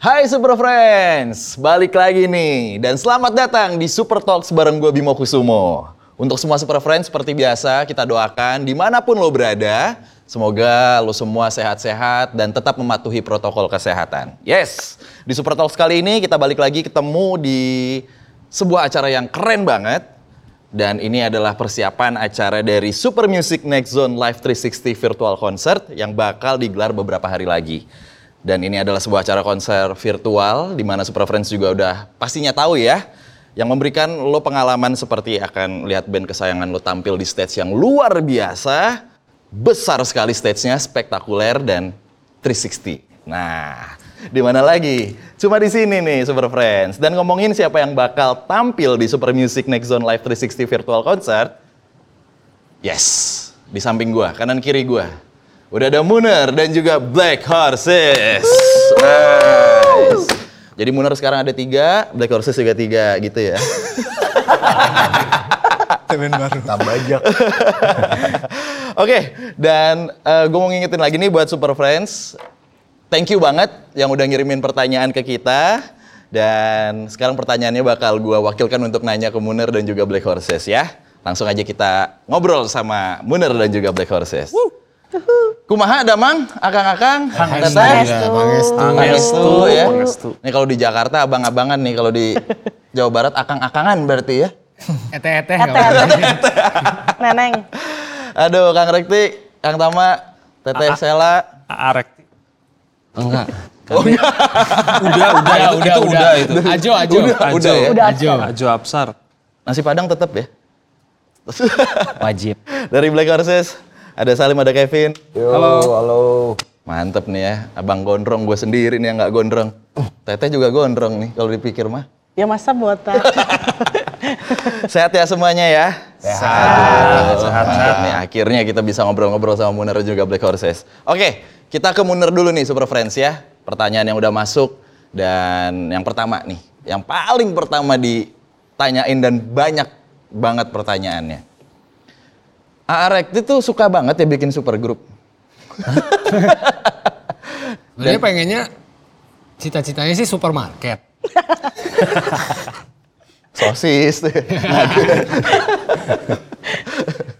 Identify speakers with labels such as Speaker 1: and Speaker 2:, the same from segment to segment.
Speaker 1: Hai Super Friends, balik lagi nih dan selamat datang di Super Talks bareng gue Bimo Kusumo. Untuk semua Super Friends seperti biasa kita doakan dimanapun lo berada, semoga lo semua sehat-sehat dan tetap mematuhi protokol kesehatan. Yes, di Super Talks kali ini kita balik lagi ketemu di sebuah acara yang keren banget dan ini adalah persiapan acara dari Super Music Next Zone Live 360 Virtual Concert yang bakal digelar beberapa hari lagi. Dan ini adalah sebuah acara konser virtual di mana Super Friends juga udah pastinya tahu ya yang memberikan lo pengalaman seperti akan lihat band kesayangan lo tampil di stage yang luar biasa, besar sekali stage-nya, spektakuler dan 360. Nah, di mana lagi? Cuma di sini nih Super Friends. Dan ngomongin siapa yang bakal tampil di Super Music Next Zone Live 360 Virtual Concert. Yes, di samping gua, kanan kiri gua. Udah ada Muner dan juga Black Horses. Nice. Jadi Muner sekarang ada tiga, Black Horses juga tiga gitu ya.
Speaker 2: Temen baru. Tambah aja.
Speaker 1: Oke, dan gue mau ngingetin lagi nih buat Super Friends. Thank you banget yang udah ngirimin pertanyaan ke kita. Dan sekarang pertanyaannya bakal gua wakilkan untuk nanya ke Muner dan juga Black Horses ya. Langsung aja kita ngobrol sama Muner dan juga Black Horses. Kumaha damang, akang-akang, teteh,
Speaker 3: Iya,
Speaker 1: pangestu ya. Nih kalau di Jakarta abang-abangan nih, kalau di Jawa Barat akang-akangan berarti ya.
Speaker 2: Ete-ete.
Speaker 3: Ete, ete. Neneng.
Speaker 1: Aduh, Kang Rekti, Kang Tama, Teteh Sela, Oh, iya.
Speaker 4: Arek.
Speaker 5: Enggak.
Speaker 4: Udah, udah, itu, udah, itu, udah, itu.
Speaker 5: Ajo, ajo.
Speaker 1: Udah,
Speaker 4: Ajo.
Speaker 1: udah ya.
Speaker 3: Udah
Speaker 5: Ajo.
Speaker 4: Ajo Absar.
Speaker 1: Nasi Padang tetap ya.
Speaker 5: Wajib.
Speaker 1: Dari Black Horses ada Salim, ada Kevin.
Speaker 2: Halo. Halo.
Speaker 1: Mantep nih ya, abang gondrong gue sendiri nih yang nggak gondrong. Teteh juga gondrong nih kalau dipikir mah.
Speaker 3: Ya masa botak.
Speaker 1: Sehat ya semuanya ya. Sehat. Sehat. Nih akhirnya kita bisa ngobrol-ngobrol sama Muner dan juga Black Horses. Oke, kita ke Muner dulu nih Super Friends ya. Pertanyaan yang udah masuk dan yang pertama nih, yang paling pertama ditanyain dan banyak banget pertanyaannya. Aarek itu tuh suka banget ya bikin super grup.
Speaker 2: Dia pengennya cita-citanya sih supermarket.
Speaker 1: Sosis. tuh.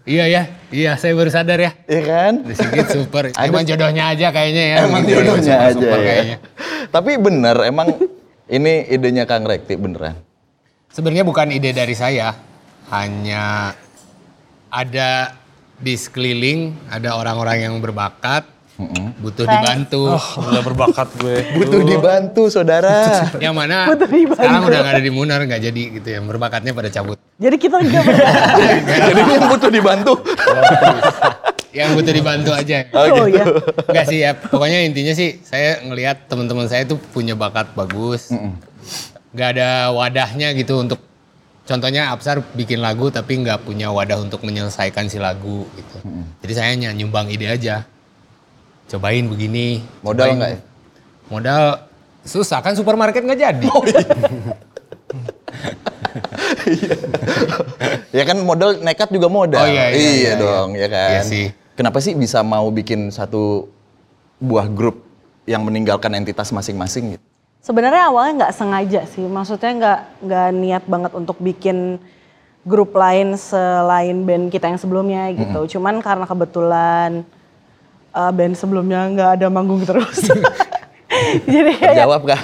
Speaker 2: Iya ya. Iya, saya baru sadar ya.
Speaker 1: Iya kan?
Speaker 2: Sedikit super.
Speaker 1: Ada-
Speaker 2: Emang jodohnya aja kayaknya ya.
Speaker 1: Emang
Speaker 2: Gitu ya,
Speaker 1: jodohnya aja
Speaker 2: super-super
Speaker 1: ya.
Speaker 2: kayaknya.
Speaker 1: Tapi bener emang ini idenya Kang Rekti beneran.
Speaker 2: Sebenarnya bukan ide dari saya. Hanya ada di sekeliling ada orang-orang yang berbakat butuh
Speaker 3: Thanks.
Speaker 2: dibantu.
Speaker 4: Udah berbakat gue.
Speaker 2: Oh.
Speaker 1: Butuh dibantu saudara.
Speaker 2: Yang mana sekarang udah gak ada di Munar nggak jadi gitu ya. Berbakatnya pada cabut.
Speaker 3: Jadi kita nggak berdua.
Speaker 1: Jadi yang butuh dibantu.
Speaker 2: Yang butuh dibantu aja.
Speaker 3: Oh, ya.
Speaker 2: Enggak sih ya, pokoknya intinya sih saya ngelihat teman-teman saya tuh punya bakat bagus. Nggak ada wadahnya gitu untuk contohnya Absar bikin lagu tapi nggak punya wadah untuk menyelesaikan si lagu gitu. Jadi saya hanya nyumbang ide aja. Cobain begini.
Speaker 1: Modal
Speaker 2: cobain.
Speaker 1: nggak ya?
Speaker 2: Modal susah kan supermarket nggak jadi.
Speaker 1: ya kan modal nekat juga modal.
Speaker 2: Oh, iya, iya,
Speaker 1: iya,
Speaker 2: iya,
Speaker 1: dong, ya kan.
Speaker 2: Iya sih.
Speaker 1: Kenapa sih bisa mau bikin satu buah grup yang meninggalkan entitas masing-masing gitu?
Speaker 3: Sebenarnya awalnya nggak sengaja sih. Maksudnya nggak nggak niat banget untuk bikin grup lain selain band kita yang sebelumnya gitu. Cuman karena kebetulan eh, band sebelumnya nggak ada manggung terus. Jadi kayak
Speaker 1: Jawab kah?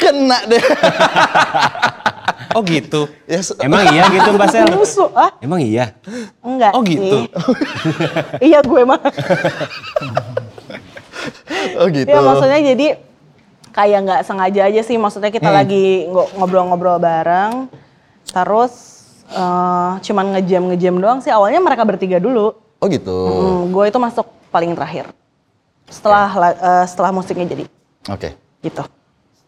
Speaker 1: Kena deh.
Speaker 5: Oh gitu.
Speaker 1: Ya, se-
Speaker 5: Emang iya gitu Mbak Sel?
Speaker 3: musuh ah
Speaker 5: Emang iya?
Speaker 3: enggak
Speaker 5: Oh,
Speaker 3: sih.
Speaker 5: gitu.
Speaker 3: iya gue mah.
Speaker 1: oh gitu.
Speaker 3: Ya maksudnya jadi kayak nggak sengaja aja sih. Maksudnya kita
Speaker 1: Hmm.
Speaker 3: lagi ngo- ngobrol-ngobrol bareng, terus eh, cuman ngejam ngejam doang sih. Awalnya mereka bertiga dulu.
Speaker 1: Oh gitu.
Speaker 3: Hmm, gue itu masuk paling terakhir. Setelah la- eh, setelah musiknya jadi
Speaker 1: Oke.
Speaker 3: gitu.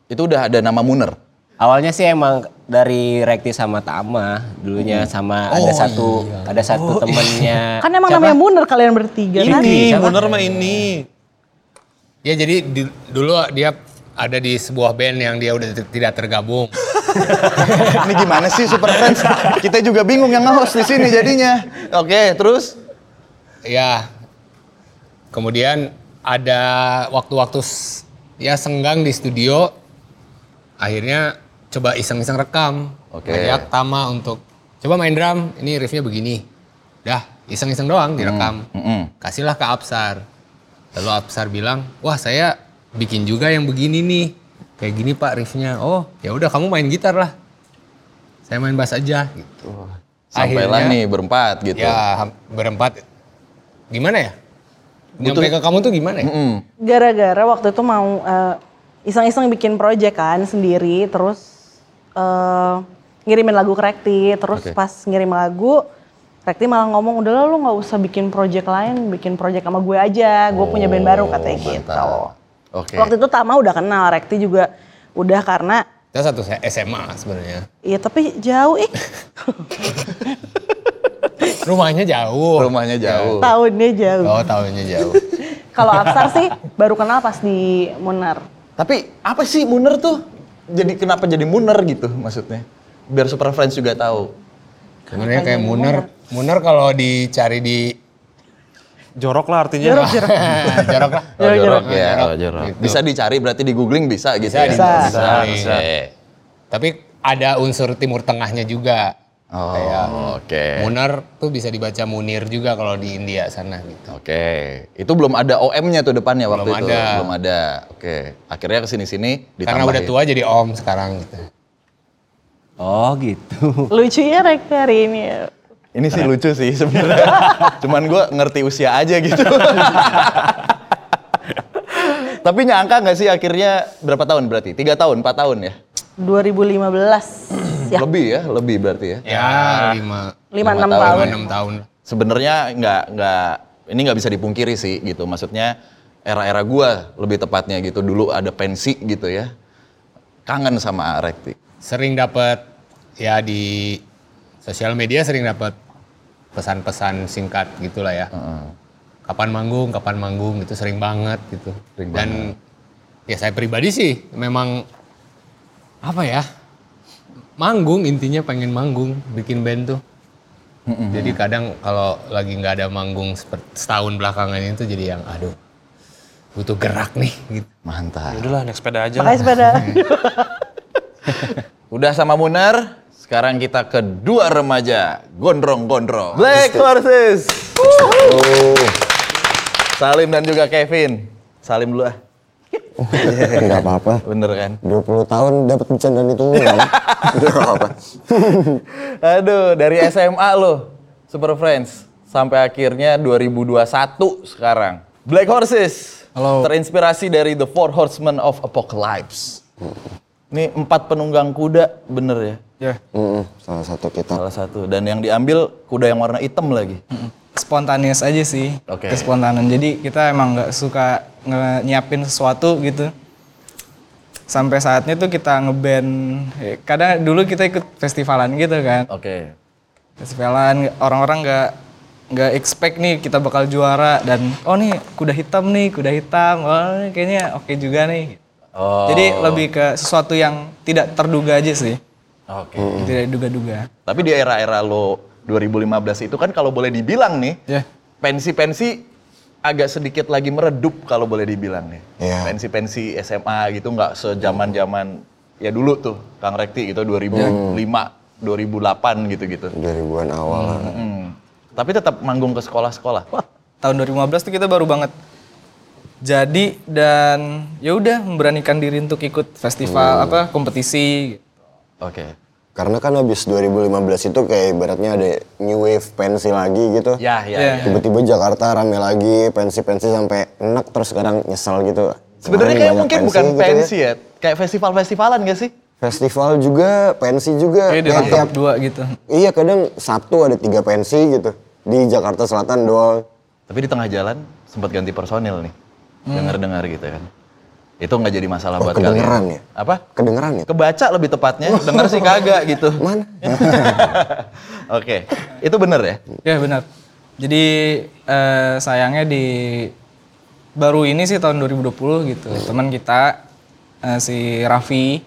Speaker 1: Itu udah ada nama Muner.
Speaker 5: Awalnya sih emang dari Rekti sama Tama dulunya sama ada satu ada satu
Speaker 1: Eh,
Speaker 5: temennya.
Speaker 3: Kan emang namanya Munder kalian bertiga kan?
Speaker 4: Ini, bener mah ini.
Speaker 2: Ya jadi di- dulu dia ada di sebuah band yang dia udah t- tidak tergabung.
Speaker 1: Ini gimana sih Super Friends? Kita juga bingung yang nge-host di sini jadinya. Oke, terus
Speaker 2: Ya. Kemudian ada waktu-waktu s- ya senggang di studio akhirnya coba iseng-iseng rekam
Speaker 1: Oke.
Speaker 2: ngajak Tama untuk coba main drum ini riffnya begini dah iseng-iseng doang direkam
Speaker 1: mm-mm.
Speaker 2: kasihlah ke Absar lalu Absar bilang wah saya bikin juga yang begini nih kayak gini pak riffnya oh ya udah kamu main gitar lah saya main bass aja gitu
Speaker 1: Sampailah
Speaker 2: Akhirnya-
Speaker 1: nih berempat gitu.
Speaker 2: ya ham- berempat gimana ya nyampe ke kamu tuh gimana ya
Speaker 1: Mm-mm.
Speaker 3: Gara-gara waktu itu mau eh, iseng-iseng bikin project kan sendiri, terus eh, ngirimin lagu ke Rekti, terus
Speaker 1: Oke.
Speaker 3: pas ngirim lagu, Rekti malah ngomong udah lah, lu nggak usah bikin project lain, bikin project sama gue aja, gue punya band baru
Speaker 1: Oh,
Speaker 3: katanya gitu.
Speaker 1: mantap. Oke.
Speaker 3: Waktu itu Tama udah kenal, Rekti juga udah karena
Speaker 2: kita satu se- SMA sebenarnya
Speaker 3: ya tapi jauh ih
Speaker 2: rumahnya jauh
Speaker 1: Oh, Rumahnya jauh.
Speaker 3: tahunnya jauh.
Speaker 2: oh tahunnya jauh
Speaker 3: Kalau Absar sih baru kenal pas di Munar.
Speaker 1: Tapi apa sih Muner tuh? Jadi kenapa jadi Muner gitu maksudnya? Biar Super Friends juga tahu.
Speaker 2: sebenarnya kayak muner muner kalau dicari di
Speaker 4: Jorok lah artinya.
Speaker 3: Jorok jorok.
Speaker 2: jorok lah
Speaker 3: Jorok, jorok.
Speaker 1: ya,
Speaker 2: jorok.
Speaker 1: oh, jorok.
Speaker 2: iya, Gitu.
Speaker 1: Bisa dicari berarti di googling bisa gitu
Speaker 2: Bisa,
Speaker 1: ya?
Speaker 2: bisa.
Speaker 1: Bisa,
Speaker 2: Bisa.
Speaker 1: bisa.
Speaker 2: tapi ada unsur timur tengahnya juga
Speaker 1: Oh,
Speaker 2: Kayak
Speaker 1: oke.
Speaker 2: muner tuh bisa dibaca munir juga kalau di India sana gitu
Speaker 1: Oke, itu belum ada OM-nya tuh depannya waktu
Speaker 2: Belum
Speaker 1: itu.
Speaker 2: ada.
Speaker 1: Belum ada. Oke, akhirnya kesini-sini
Speaker 2: karena
Speaker 1: ditambahin.
Speaker 2: udah tua jadi om sekarang gitu
Speaker 5: Oh gitu.
Speaker 3: Lucunya Rekti hari ini. ya.
Speaker 1: Ini sih lucu sih sebenarnya. Cuman gue ngerti usia aja gitu. Tapi nyangka nggak sih akhirnya berapa tahun berarti? Tiga tahun, empat tahun ya?
Speaker 3: 2015 ya.
Speaker 1: Lebih ya, lebih berarti ya.
Speaker 2: ya lima
Speaker 3: Lima,
Speaker 1: tahun.
Speaker 3: enam
Speaker 2: lima
Speaker 3: tahun.
Speaker 2: enam tahun
Speaker 1: Sebenarnya nggak nggak ini nggak bisa dipungkiri sih gitu. Maksudnya era-era gua lebih tepatnya gitu. Dulu ada pensi gitu ya. Kangen sama Rekti.
Speaker 2: sering dapat ya di sosial media sering dapat pesan-pesan singkat gitulah ya. Kapan manggung, kapan manggung itu sering banget gitu.
Speaker 1: Sering
Speaker 2: Dan ya saya pribadi sih memang apa ya? Manggung intinya pengen manggung, bikin band tuh. Jadi kadang kalau lagi nggak ada manggung seper- setahun belakangan itu jadi yang aduh butuh gerak nih gitu.
Speaker 1: Mantap.
Speaker 4: Udahlah naik sepeda aja.
Speaker 3: Pakai sepeda.
Speaker 1: Udah sama Munar, sekarang kita ke dua remaja gondrong-gondrong. Black Horses. Wuhu. Salim dan juga Kevin. Salim dulu ah.
Speaker 6: Enggak apa-apa.
Speaker 1: Bener kan?
Speaker 6: 20 tahun dapat bercandaan itu kan? enggak apa-apa.
Speaker 1: Aduh, dari SMA lo, Super Friends. Sampai akhirnya 2021 sekarang. Black Horses.
Speaker 2: Halo.
Speaker 1: Terinspirasi dari The Four Horsemen of Apocalypse. Ini empat penunggang kuda, bener ya?
Speaker 7: Ya,
Speaker 6: Mm-mm, Salah satu kita.
Speaker 1: Salah satu. Dan yang diambil kuda yang warna hitam lagi.
Speaker 7: spontaneous aja sih.
Speaker 1: Oke.
Speaker 7: Kespontanan. Jadi kita emang nggak suka nge- nyiapin sesuatu gitu. Sampai saatnya tuh kita ngeband. Eh, Kadang dulu kita ikut festivalan gitu kan.
Speaker 1: Oke.
Speaker 7: Festivalan orang-orang nggak nggak expect nih kita bakal juara dan oh nih kuda hitam nih kuda hitam oh ini kayaknya oke juga nih
Speaker 1: Oh.
Speaker 7: jadi lebih ke sesuatu yang tidak terduga aja sih
Speaker 1: Oke.
Speaker 7: tidak duga-duga
Speaker 1: Tapi di era-era lo 2015 itu kan kalau boleh dibilang nih,
Speaker 7: ya
Speaker 1: pensi-pensi agak sedikit lagi meredup kalau boleh dibilang nih.
Speaker 6: Iya.
Speaker 1: Pensi-pensi SMA gitu nggak sejaman-jaman ya dulu tuh Kang Rekti gitu 2005, 2008 gitu-gitu.
Speaker 6: 2000-an awal. lah.
Speaker 1: Hmm. Tapi tetap manggung ke sekolah-sekolah.
Speaker 7: tahun 2015 tuh kita baru banget jadi dan ya udah memberanikan diri untuk ikut festival apa kompetisi gitu.
Speaker 1: Oke.
Speaker 6: Karena kan habis 2015 itu kayak ibaratnya ada new wave pensi lagi gitu.
Speaker 1: Ya, ya.
Speaker 7: Ya.
Speaker 1: ya.
Speaker 6: Tiba-tiba Jakarta rame lagi, pensi-pensi sampai enak terus sekarang nyesel gitu.
Speaker 1: Sebenarnya
Speaker 6: Kemarin
Speaker 1: kayak
Speaker 6: banyak
Speaker 1: mungkin bukan
Speaker 6: gitu ya.
Speaker 1: pensi ya. Kayak festival-festivalan gak sih?
Speaker 6: Festival juga, pensi juga.
Speaker 1: Oh, iya,
Speaker 7: kayak
Speaker 6: Kayak
Speaker 7: dirangkap
Speaker 6: tiap-
Speaker 7: dua gitu
Speaker 6: Iya kadang Sabtu ada tiga pensi gitu. Di Jakarta Selatan doang.
Speaker 1: Tapi di tengah jalan sempat ganti personil nih. Dengar-dengar gitu kan. Itu nggak jadi masalah
Speaker 6: Hmm. Oh,
Speaker 1: buat kalian.
Speaker 6: kedengeran ya?
Speaker 1: Apa?
Speaker 6: Kedengeran ya?
Speaker 1: Kebaca lebih tepatnya, denger sih kagak gitu.
Speaker 6: Mana?
Speaker 1: Oke, itu bener ya?
Speaker 7: ya benar jadi eh, sayangnya di baru ini sih tahun 2020 gitu teman kita eh, si Raffi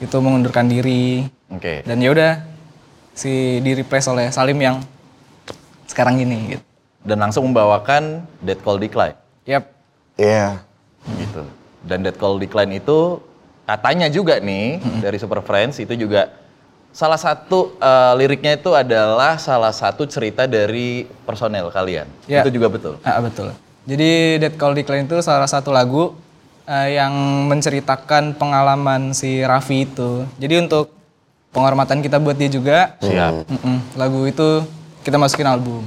Speaker 7: itu mengundurkan diri
Speaker 1: Oke.
Speaker 7: dan ya udah si di replace oleh Salim yang sekarang ini gitu
Speaker 1: Dan langsung membawakan Dead Call Decline
Speaker 7: Yap.
Speaker 6: Iya.
Speaker 1: gitu. Dan Dead Call Decline itu katanya juga nih
Speaker 6: Hmm.
Speaker 1: dari Super Friends itu juga salah satu eh, liriknya itu adalah salah satu cerita dari personel kalian.
Speaker 7: Ya.
Speaker 1: Itu juga betul.
Speaker 7: Ah, betul. Jadi Dead Call Decline itu salah satu lagu eh, yang menceritakan pengalaman si Raffi itu. Jadi untuk penghormatan kita buat dia juga.
Speaker 1: Siap.
Speaker 7: mm-mm, lagu itu kita masukin album.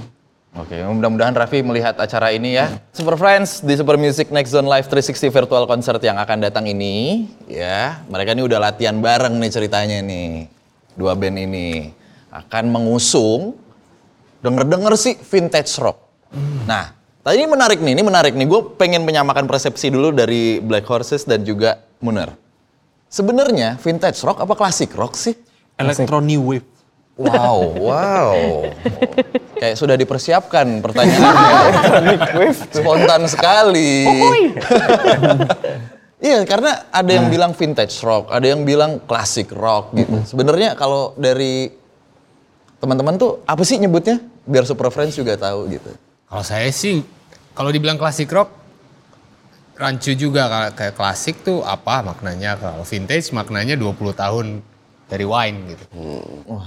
Speaker 1: Oke, mudah-mudahan Raffi melihat acara ini ya. Super Friends di Super Music Next Zone Live 360 Virtual Concert yang akan datang ini, ya. Mereka ini udah latihan bareng nih ceritanya nih. Dua band ini akan mengusung denger-denger sih vintage rock. Nah, tadi ini menarik nih, ini menarik nih. Gue pengen menyamakan persepsi dulu dari Black Horses dan juga Muner. Sebenarnya vintage rock apa klasik rock sih?
Speaker 4: Electronic wave.
Speaker 1: Wow, wow. Kayak sudah dipersiapkan pertanyaannya. Spontan sekali. Iya, karena ada yang bilang vintage rock, ada yang bilang klasik rock gitu. Sebenarnya kalau dari teman-teman tuh apa sih nyebutnya? Biar super friends juga tahu gitu.
Speaker 2: Kalau saya sih, kalau dibilang klasik rock, rancu juga Ka- kayak klasik tuh apa maknanya. Kalau vintage maknanya 20 tahun dari wine gitu.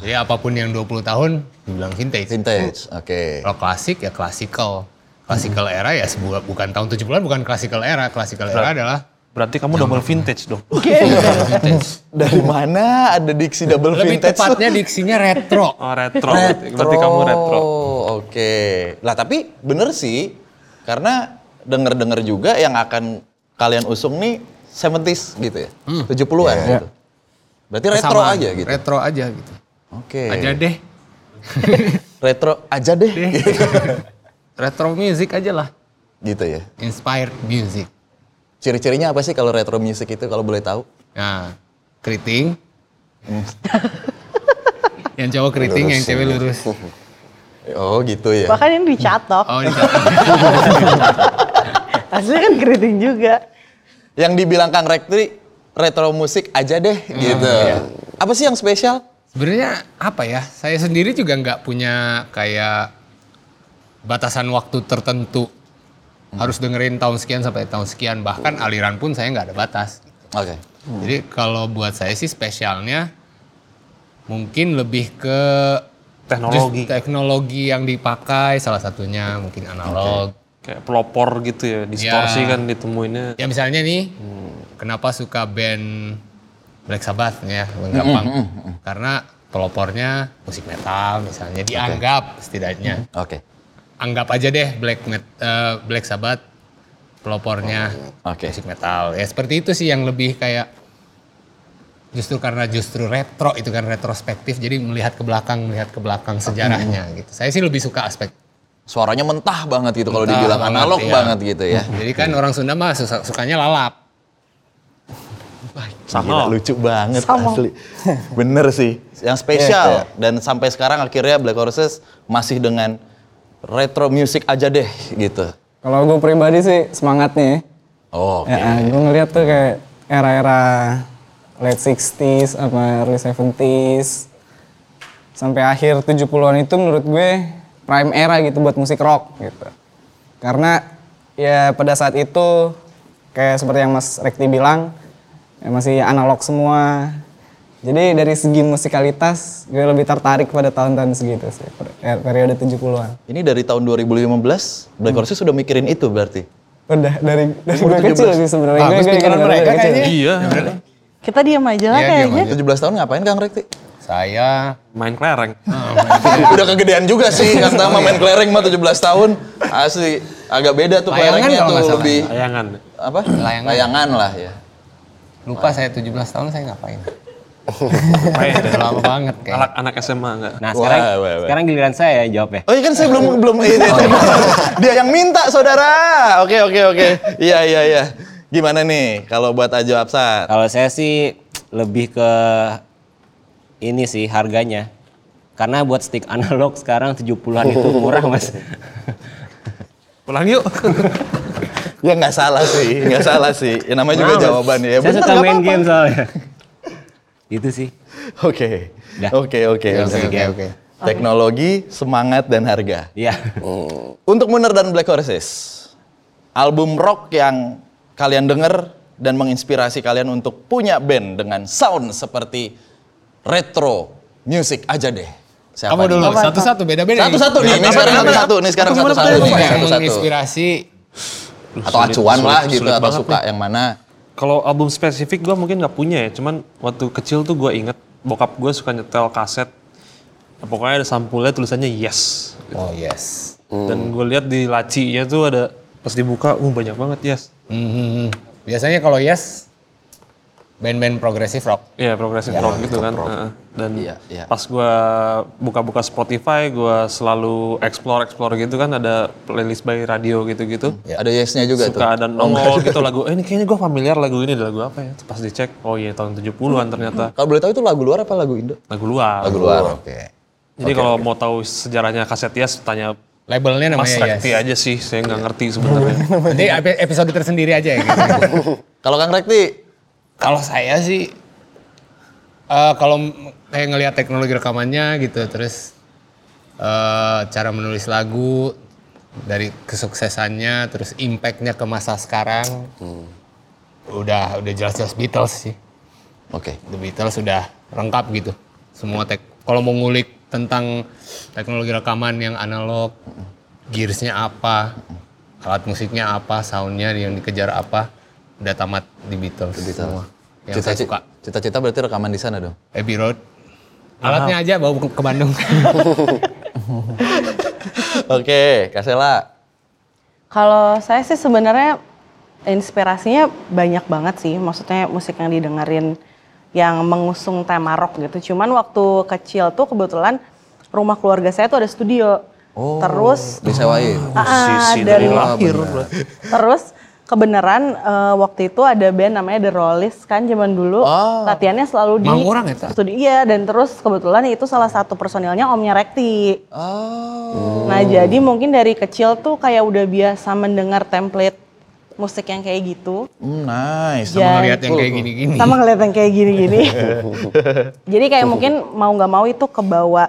Speaker 2: Jadi apapun yang 20 tahun dibilang vintage.
Speaker 1: Hmm. Vintage, oke.
Speaker 2: Kalau klasik ya classical. Classical era ya sebuah, bukan tahun 70-an bukan classical era. Classical era adalah
Speaker 4: Berarti kamu double vintage dong.
Speaker 1: Dari mana ada diksi double
Speaker 2: lebih
Speaker 1: vintage? tuh?
Speaker 2: tepatnya diksinya retro.
Speaker 4: Oh, retro.
Speaker 7: Eh,
Speaker 4: Berarti kamu retro.
Speaker 1: Oke. Lah tapi bener sih karena denger-denger juga yang akan kalian usung nih 70s gitu ya. 70-an gitu. Berarti retro
Speaker 2: Kesamaan.
Speaker 1: aja gitu.
Speaker 2: Retro aja gitu.
Speaker 1: Oke.
Speaker 2: Aja deh.
Speaker 1: Retro aja deh.
Speaker 2: Retro music aja lah.
Speaker 1: gitu ya.
Speaker 2: Inspired music.
Speaker 1: Ciri-cirinya apa sih kalau retro music itu kalau boleh tahu?
Speaker 2: Nah, keriting. yang cowok keriting, yang cewek lurus.
Speaker 1: Oh gitu ya.
Speaker 3: Bahkan ini dicatok.
Speaker 2: Oh, ini cowok.
Speaker 3: Aslinya kan keriting juga.
Speaker 1: Yang dibilang Kang Rektri retro musik aja deh gitu. Apa sih yang spesial?
Speaker 2: Sebenarnya apa ya? Saya sendiri juga nggak punya kayak batasan waktu tertentu. Harus dengerin tahun sekian sampai tahun sekian. Bahkan aliran pun saya nggak ada batas.
Speaker 1: Oke.
Speaker 2: Jadi kalau buat saya sih spesialnya mungkin lebih ke
Speaker 4: Teknologi.
Speaker 2: just teknologi yang dipakai salah satunya mungkin analog.
Speaker 4: Kayak pelopor gitu ya, distorsi
Speaker 2: Ya.
Speaker 4: kan ditemuinnya.
Speaker 2: Ya misalnya nih, kenapa suka band Black Sabbath ya, gampang. Karena pelopornya musik metal misalnya dianggap setidaknya.
Speaker 1: Oke.
Speaker 2: Anggap aja deh Black Met- eh, Black Sabbath pelopornya
Speaker 1: Oke.
Speaker 2: musik metal. Ya seperti itu sih yang lebih kayak justru karena justru retro itu kan retrospektif jadi melihat ke belakang melihat ke belakang sejarahnya gitu. Saya sih lebih suka aspek
Speaker 1: Suaranya mentah banget gitu kalau
Speaker 2: Mentah
Speaker 1: dibilang
Speaker 2: banget,
Speaker 1: analog
Speaker 2: iya.
Speaker 1: banget gitu ya.
Speaker 2: Jadi kan orang Sunda mah suka- sukanya lalap.
Speaker 1: Gila, lucu banget asli. Bener sih. Iya, Yang spesial dan sampai sekarang akhirnya Black Horses masih dengan retro music aja deh gitu.
Speaker 7: Kalau gue pribadi sih semangatnya ya.
Speaker 1: Oh,
Speaker 7: Ya, gue ngeliat tuh kayak era-era late 60s apa early 70s sampai akhir 70-an itu menurut gue prime era gitu buat musik rock gitu. Karena ya pada saat itu kayak seperti yang Mas Rekti bilang ya masih analog semua. Jadi dari segi musikalitas gue lebih tertarik pada tahun-tahun segitu sih, per- eh, periode 70-an.
Speaker 1: ini dari tahun 2015 Black
Speaker 2: Hmm.
Speaker 1: Horses sudah mikirin itu berarti.
Speaker 7: Udah dari dari gue kecil sih sebenarnya. Gue- gue
Speaker 2: pikiran
Speaker 7: dengerin dari kecil.
Speaker 4: Iya,
Speaker 3: Kita diam aja lah
Speaker 2: Iya, diam
Speaker 3: kayaknya.
Speaker 2: aja.
Speaker 1: 17 tahun ngapain Kang Rekti?
Speaker 2: Saya
Speaker 4: main kelereng.
Speaker 1: Udah kegedean juga sih, kan sama main kelereng mah 17 tahun. Asli, agak beda tuh
Speaker 2: Layangan
Speaker 1: kelerengnya
Speaker 2: kalau
Speaker 1: tuh
Speaker 2: nggak salah.
Speaker 1: lebih
Speaker 4: Layangan.
Speaker 1: apa?
Speaker 2: Layangan.
Speaker 1: Layangan lah ya.
Speaker 2: lupa saya 17 tahun saya ngapain.
Speaker 4: Main deh.
Speaker 2: Udah lama banget kayak.
Speaker 4: Anak anak SMA enggak.
Speaker 5: Nah sekarang
Speaker 1: Wah, wah, wah.
Speaker 5: sekarang giliran saya jawab ya.
Speaker 1: Oh iya kan saya belum belum iya, iya, iya. dia yang minta saudara. Oke oke oke. Iya iya iya. Gimana nih kalau buat Ajo Absat?
Speaker 5: Kalau saya sih lebih ke ini sih harganya. Karena buat stick analog sekarang 70-an itu murah mas.
Speaker 4: Pulang yuk.
Speaker 1: Ya nggak salah sih, nggak salah sih. Ya, namanya juga
Speaker 5: Mahal, Mas.
Speaker 1: jawaban ya.
Speaker 5: Saya
Speaker 1: Bener,
Speaker 5: suka
Speaker 1: nggak
Speaker 5: main
Speaker 1: apa-apa.
Speaker 5: game soalnya. itu sih.
Speaker 1: Oke.
Speaker 5: Dah.
Speaker 1: Oke oke oke.
Speaker 2: Oke oke.
Speaker 1: Teknologi, semangat dan harga.
Speaker 5: Iya.
Speaker 1: Untuk Muner dan Black Horses, album rock yang kalian denger dan menginspirasi kalian untuk punya band dengan sound seperti retro music aja deh. Siapa
Speaker 2: Kamu
Speaker 1: nih?
Speaker 2: dulu satu-satu beda-beda.
Speaker 1: Satu-satu nih, ini sekarang satu-satu, nih sekarang satu-satu.
Speaker 2: Satu
Speaker 1: nih,
Speaker 2: yang
Speaker 1: Satu-satu.
Speaker 2: menginspirasi
Speaker 1: Atau
Speaker 4: Sulit,
Speaker 1: acuan
Speaker 4: sulit,
Speaker 1: lah gitu,
Speaker 4: sulit
Speaker 1: atau
Speaker 4: banget
Speaker 1: suka yang mana.
Speaker 4: Kalau album spesifik gue mungkin nggak punya ya, cuman waktu kecil tuh gue inget bokap gue suka nyetel kaset. Pokoknya ada sampulnya tulisannya yes.
Speaker 2: Oh yes.
Speaker 4: Dan gue lihat di lacinya tuh ada pas dibuka, uh banyak banget yes.
Speaker 2: Mhm. Biasanya kalau yes band-band progresif rock.
Speaker 4: Iya progressive rock gitu kan. Heeh. Dan
Speaker 1: Iya, iya.
Speaker 4: pas gua buka-buka Spotify, gua selalu explore explore gitu kan ada playlist by radio gitu-gitu.
Speaker 1: Ada yesnya juga tuh. Oh,
Speaker 4: Suka ada nongol gitu lagu. Eh ini kayaknya gua familiar lagu ini ada lagu apa ya? Pas dicek, oh iya tahun 70-an ternyata.
Speaker 1: Kalau boleh tahu itu lagu luar apa lagu Indo?
Speaker 4: Lagu luar.
Speaker 1: Lagu luar, oke.
Speaker 4: Jadi kalau mau tahu sejarahnya kaset Yes, tanya
Speaker 2: Labelnya
Speaker 4: Mas
Speaker 2: namanya
Speaker 4: Rekti
Speaker 2: yes.
Speaker 4: aja sih, saya nggak ngerti sebenarnya.
Speaker 2: Nanti epi- episode tersendiri aja ya. gitu.
Speaker 1: Kalau Kang Rekti,
Speaker 2: kalau saya sih eh, kalau m- kayak ngelihat teknologi rekamannya gitu terus eh, cara menulis lagu dari kesuksesannya terus impactnya ke masa sekarang udah udah jelas-jelas Beatles sih
Speaker 1: oke.
Speaker 2: The Beatles sudah lengkap gitu semua tek kalau mau ngulik tentang teknologi rekaman yang analog gearsnya apa alat musiknya apa soundnya yang dikejar apa udah tamat di Beatles, semua yang saya suka
Speaker 1: Cita-cita- Cita-cita berarti rekaman di sana dong.
Speaker 2: Abbey Road. Alatnya aja bawa ke, ke Bandung.
Speaker 1: Oke, Kasela.
Speaker 3: Kalau saya sih sebenarnya inspirasinya banyak banget sih. Maksudnya musik yang didengerin yang mengusung tema rock gitu. Cuman waktu kecil tuh kebetulan rumah keluarga saya tuh ada studio.
Speaker 2: Oh.
Speaker 3: Terus
Speaker 1: disewain.
Speaker 3: Ah,
Speaker 4: Musisi
Speaker 3: dari
Speaker 4: dari lahir.
Speaker 3: Terus kebenaran eh, waktu itu ada band namanya The Rollies kan zaman dulu latihannya selalu di
Speaker 2: Mang orang ya, Ta?
Speaker 3: studio iya dan terus kebetulan itu salah satu personilnya omnya Rekti.
Speaker 1: Oh.
Speaker 3: Nah jadi mungkin dari kecil tuh kayak udah biasa mendengar template musik yang kayak gitu.
Speaker 1: Mm, nice.
Speaker 3: Jadi-
Speaker 2: Ngelihat yang kayak gini-gini.
Speaker 3: Sama ngeliat yang kayak gini-gini. Jadi kayak mungkin mau nggak mau itu kebawa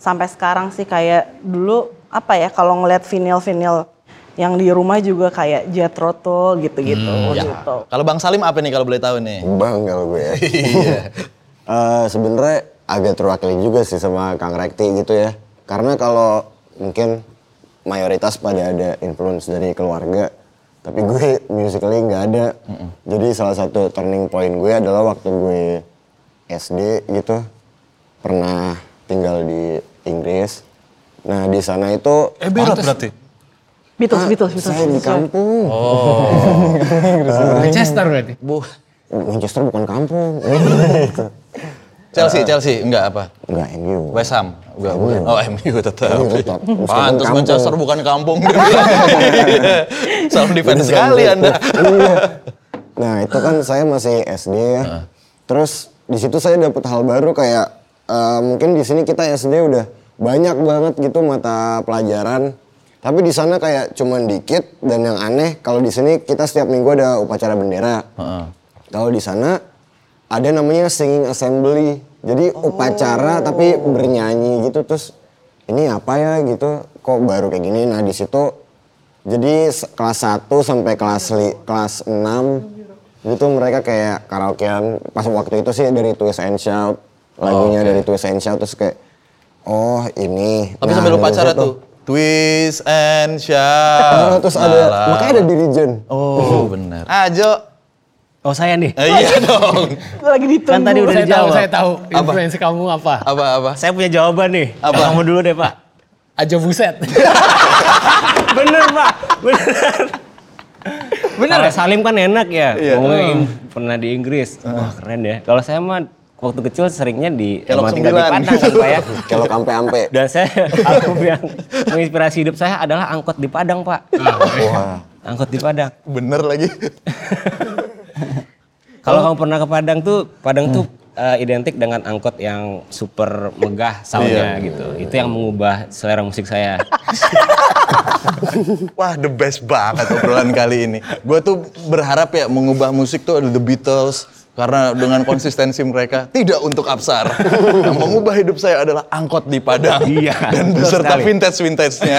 Speaker 3: sampai sekarang sih kayak dulu apa ya kalau ngeliat vinil-vinil yang di rumah juga kayak Jet Roto gitu-gitu gitu.
Speaker 1: Kalau Bang Salim apa nih kalau boleh tahu nih?
Speaker 6: Bang kalau gue ya. Eh, Sebenarnya agak terwakili juga sih sama Kang Rekti gitu ya. Karena kalau mungkin mayoritas pada ada influence dari keluarga, tapi gue musically nggak ada. Jadi salah satu turning point gue adalah waktu gue SD gitu pernah tinggal di Inggris. Nah di sana itu
Speaker 4: Eh berat berarti.
Speaker 3: Beatles, Beatles, Beatles.
Speaker 6: saya kan- di
Speaker 3: Beatles.
Speaker 6: kampung.
Speaker 2: Manchester berarti.
Speaker 1: Bu,
Speaker 6: Manchester bukan kampung.
Speaker 1: Chelsea, Chelsea enggak apa?
Speaker 6: Enggak, MU.
Speaker 1: West Ham. Enggak, bukan. Oh, MU tetap.
Speaker 6: MU Iya. tetap. Meskipun
Speaker 1: Pantes
Speaker 6: kampung.
Speaker 1: Manchester bukan kampung. Salam defense sekali Anda.
Speaker 6: Iya. nah itu kan saya masih SD ya. Terus di situ saya dapet hal baru kayak eh, mungkin di sini kita SD udah banyak banget gitu mata pelajaran. Tapi di sana kayak cuman dikit dan yang aneh kalau di sini kita setiap minggu ada upacara bendera. Kalau di sana ada namanya singing assembly. Jadi
Speaker 1: Oh.
Speaker 6: upacara tapi bernyanyi gitu terus ini apa ya gitu kok baru kayak gini. Nah di situ jadi se- kelas 1 sampai kelas li- kelas 6 itu mereka kayak karaokean pas waktu itu sih dari Twist and Shout
Speaker 1: Oh,
Speaker 6: lagunya dari Twist and Shout terus kayak oh ini
Speaker 1: Tapi
Speaker 6: Nah,
Speaker 1: sambil
Speaker 6: dari
Speaker 1: upacara
Speaker 6: situ.
Speaker 1: tuh. Twist and
Speaker 6: Ah,
Speaker 1: shout.
Speaker 6: terus ada
Speaker 1: Alah.
Speaker 6: makanya ada dirijen
Speaker 1: Oh, benar. Ajo.
Speaker 5: Oh saya nih.
Speaker 1: Eh, iya dong.
Speaker 3: Lagi ditunggu.
Speaker 5: Kan tadi udah
Speaker 2: Saya tahu,
Speaker 5: dijawab.
Speaker 2: saya tahu. Influensi kamu apa?
Speaker 1: Apa apa?
Speaker 5: Saya punya jawaban nih.
Speaker 1: Apa?
Speaker 5: Kamu dulu deh pak.
Speaker 2: Aja buset.
Speaker 5: Bener pak. Bener. Bener. Kalau Salim kan enak ya.
Speaker 1: Iya.
Speaker 5: Ngomongnya in- pernah di Inggris. Wah keren ya. Kalau saya mah waktu kecil seringnya di
Speaker 1: Kelok
Speaker 5: emang tinggal di
Speaker 1: sembilan.
Speaker 5: Padang kan pak ya.
Speaker 6: kalau kampe ampe
Speaker 5: Dan saya album yang menginspirasi hidup saya adalah angkot di Padang pak. Angkot di Padang.
Speaker 1: Bener lagi. Oh.
Speaker 5: Kalau kamu pernah ke Padang tuh, Padang tuh
Speaker 1: Hmm.
Speaker 5: eh, identik dengan angkot yang super megah
Speaker 1: Iya.
Speaker 5: soundnya gitu. Itu yang mengubah selera musik saya.
Speaker 1: Wah, the best banget obrolan kali ini. Gue tuh berharap ya mengubah musik tuh ada The Beatles karena dengan konsistensi mereka tidak untuk Absar. Yang mengubah hidup saya adalah angkot di Padang
Speaker 5: Iya,
Speaker 1: dan
Speaker 5: betul
Speaker 1: beserta
Speaker 5: sekali.
Speaker 1: vintage vintage-nya.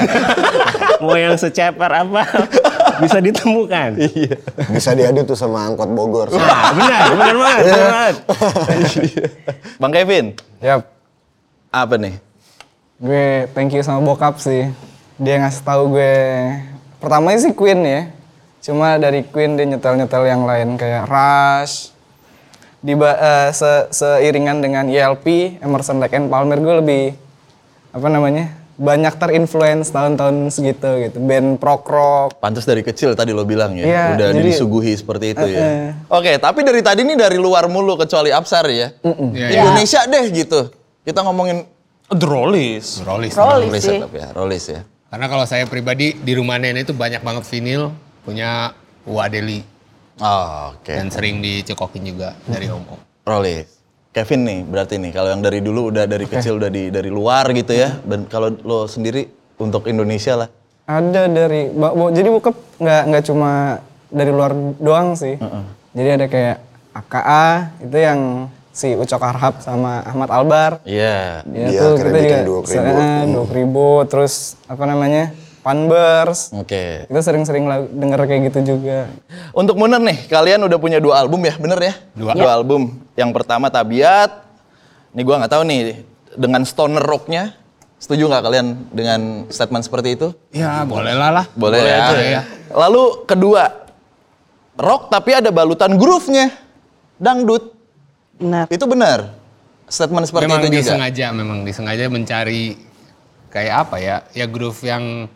Speaker 5: Mau yang seceper apa? bisa ditemukan.
Speaker 6: Bisa diadu tuh sama angkot Bogor.
Speaker 1: Iya.
Speaker 5: Nah, benar, benar banget, benar banget.
Speaker 1: Bang Kevin,
Speaker 7: Yap,
Speaker 1: apa nih?
Speaker 7: gue thank you sama bokap sih. Dia ngasih tahu gue, pertamanya sih Queen ya. Cuma dari Queen dia nyetel-nyetel yang lain kayak Rush, di ba- eh, se- seiringan dengan ELP, Emerson Lake and Palmer gue lebih apa namanya banyak terinfluence tahun-tahun segitu gitu band prog rock
Speaker 1: Pantas dari kecil tadi lo bilang ya,
Speaker 7: Iya,
Speaker 1: udah
Speaker 7: jadi-
Speaker 1: disuguhi seperti itu ya. Oke, tapi dari tadi nih dari luar mulu kecuali Absar ya.
Speaker 2: Iya, iya.
Speaker 1: Indonesia deh gitu. Kita ngomongin
Speaker 4: Drolis.
Speaker 2: Rolis.
Speaker 3: Rolly
Speaker 1: Rolis
Speaker 3: sih.
Speaker 1: tetap ya, Rolis ya.
Speaker 2: Karena kalau saya pribadi di rumah nenek itu banyak banget vinil punya Wadeli
Speaker 1: Oh, Oke,
Speaker 2: dan sering dicekokin juga dari Om Om.
Speaker 1: Rolis. Kevin nih berarti nih kalau yang dari dulu udah dari kecil udah di dari luar gitu ya. Dan kalau lo sendiri untuk Indonesia lah.
Speaker 7: ada dari ba- bo- jadi bokap nggak nggak cuma dari luar doang sih jadi ada kayak AKA itu yang si Ucok Arhab sama Ahmad Albar
Speaker 1: Iya.
Speaker 7: ya
Speaker 6: Dia akhirnya
Speaker 7: tuh kita juga
Speaker 6: bikin duo Kribo.
Speaker 7: se- duo Kribo, terus apa namanya Panbers
Speaker 1: Oke.
Speaker 7: kita sering-sering lagu- denger kayak gitu juga
Speaker 1: Untuk Munir nih, kalian udah punya dua album ya, bener ya? Dua, album. Yang pertama Tabiat. Ini gua nggak tahu nih dengan stoner rocknya. Setuju nggak kalian dengan statement seperti itu?
Speaker 2: Ya boleh lah lah.
Speaker 1: Boleh, ya.
Speaker 2: aja ya.
Speaker 1: Lalu kedua rock tapi ada balutan groove-nya, dangdut.
Speaker 3: Benar.
Speaker 1: Itu benar statement seperti
Speaker 2: memang
Speaker 1: itu juga.
Speaker 2: disengaja, memang disengaja mencari kayak apa ya, ya groove yang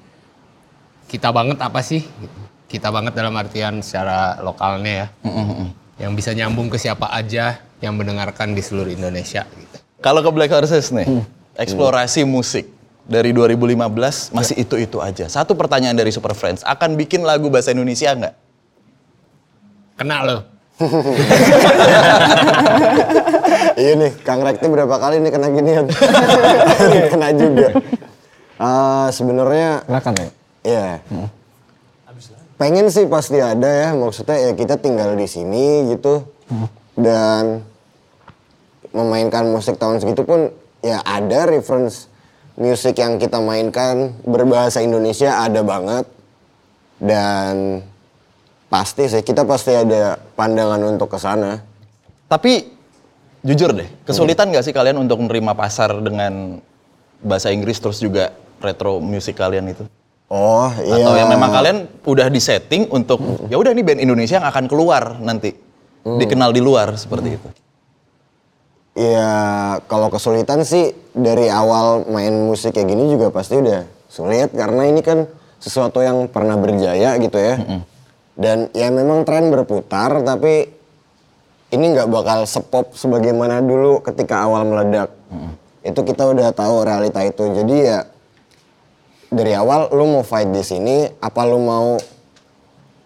Speaker 2: kita banget apa sih? gitu. Kita banget dalam artian secara lokalnya ya, yang bisa nyambung ke siapa aja yang mendengarkan di seluruh Indonesia. Gitu.
Speaker 1: Kalau ke Black Horses nih, eksplorasi musik dari 2015 masih itu-itu aja. Satu pertanyaan dari Super Friends, akan bikin lagu bahasa Indonesia nggak?
Speaker 2: Kena loh.
Speaker 6: iya nih, Kang Rekti berapa kali nih kena ginian? kena juga. Ah, Sebenarnya
Speaker 7: silakan ya
Speaker 6: Iya. Pengen sih pasti ada ya, maksudnya ya kita tinggal di sini gitu. Dan memainkan musik tahun segitu pun ya ada reference musik yang kita mainkan berbahasa Indonesia ada banget. Dan pasti sih kita pasti ada pandangan untuk ke sana.
Speaker 1: Tapi jujur deh, kesulitan nggak sih kalian untuk menerima pasar dengan bahasa Inggris terus juga retro music kalian itu?
Speaker 6: Oh, iya.
Speaker 1: Atau yang memang kalian udah disetting untuk ya udah ini band Indonesia yang akan keluar nanti dikenal di luar seperti itu.
Speaker 6: Ya kalau kesulitan sih dari awal main musik kayak gini juga pasti udah sulit karena ini kan sesuatu yang pernah berjaya gitu ya. Dan ya memang tren berputar tapi ini nggak bakal sepop sebagaimana dulu ketika awal meledak. Itu kita udah tahu realita itu. Jadi ya dari awal lu mau fight di sini apa lu mau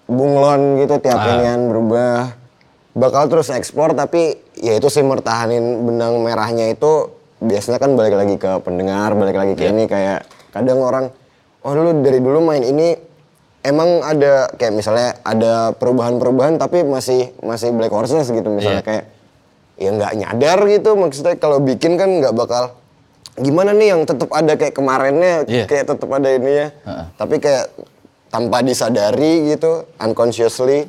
Speaker 6: bunglon gitu tiap inian berubah bakal terus ekspor tapi ya itu sih mertahanin benang merahnya itu biasanya kan balik lagi ke pendengar balik lagi ke ini kayak kadang orang oh lu dari dulu main ini emang ada kayak misalnya ada perubahan-perubahan tapi masih masih black horses gitu misalnya kayak ya nggak nyadar gitu maksudnya kalau bikin kan nggak bakal gimana nih yang tetap ada kayak kemarinnya
Speaker 1: Iya.
Speaker 6: kayak tetap Ya, ada ininya. Tapi kayak tanpa disadari gitu, unconsciously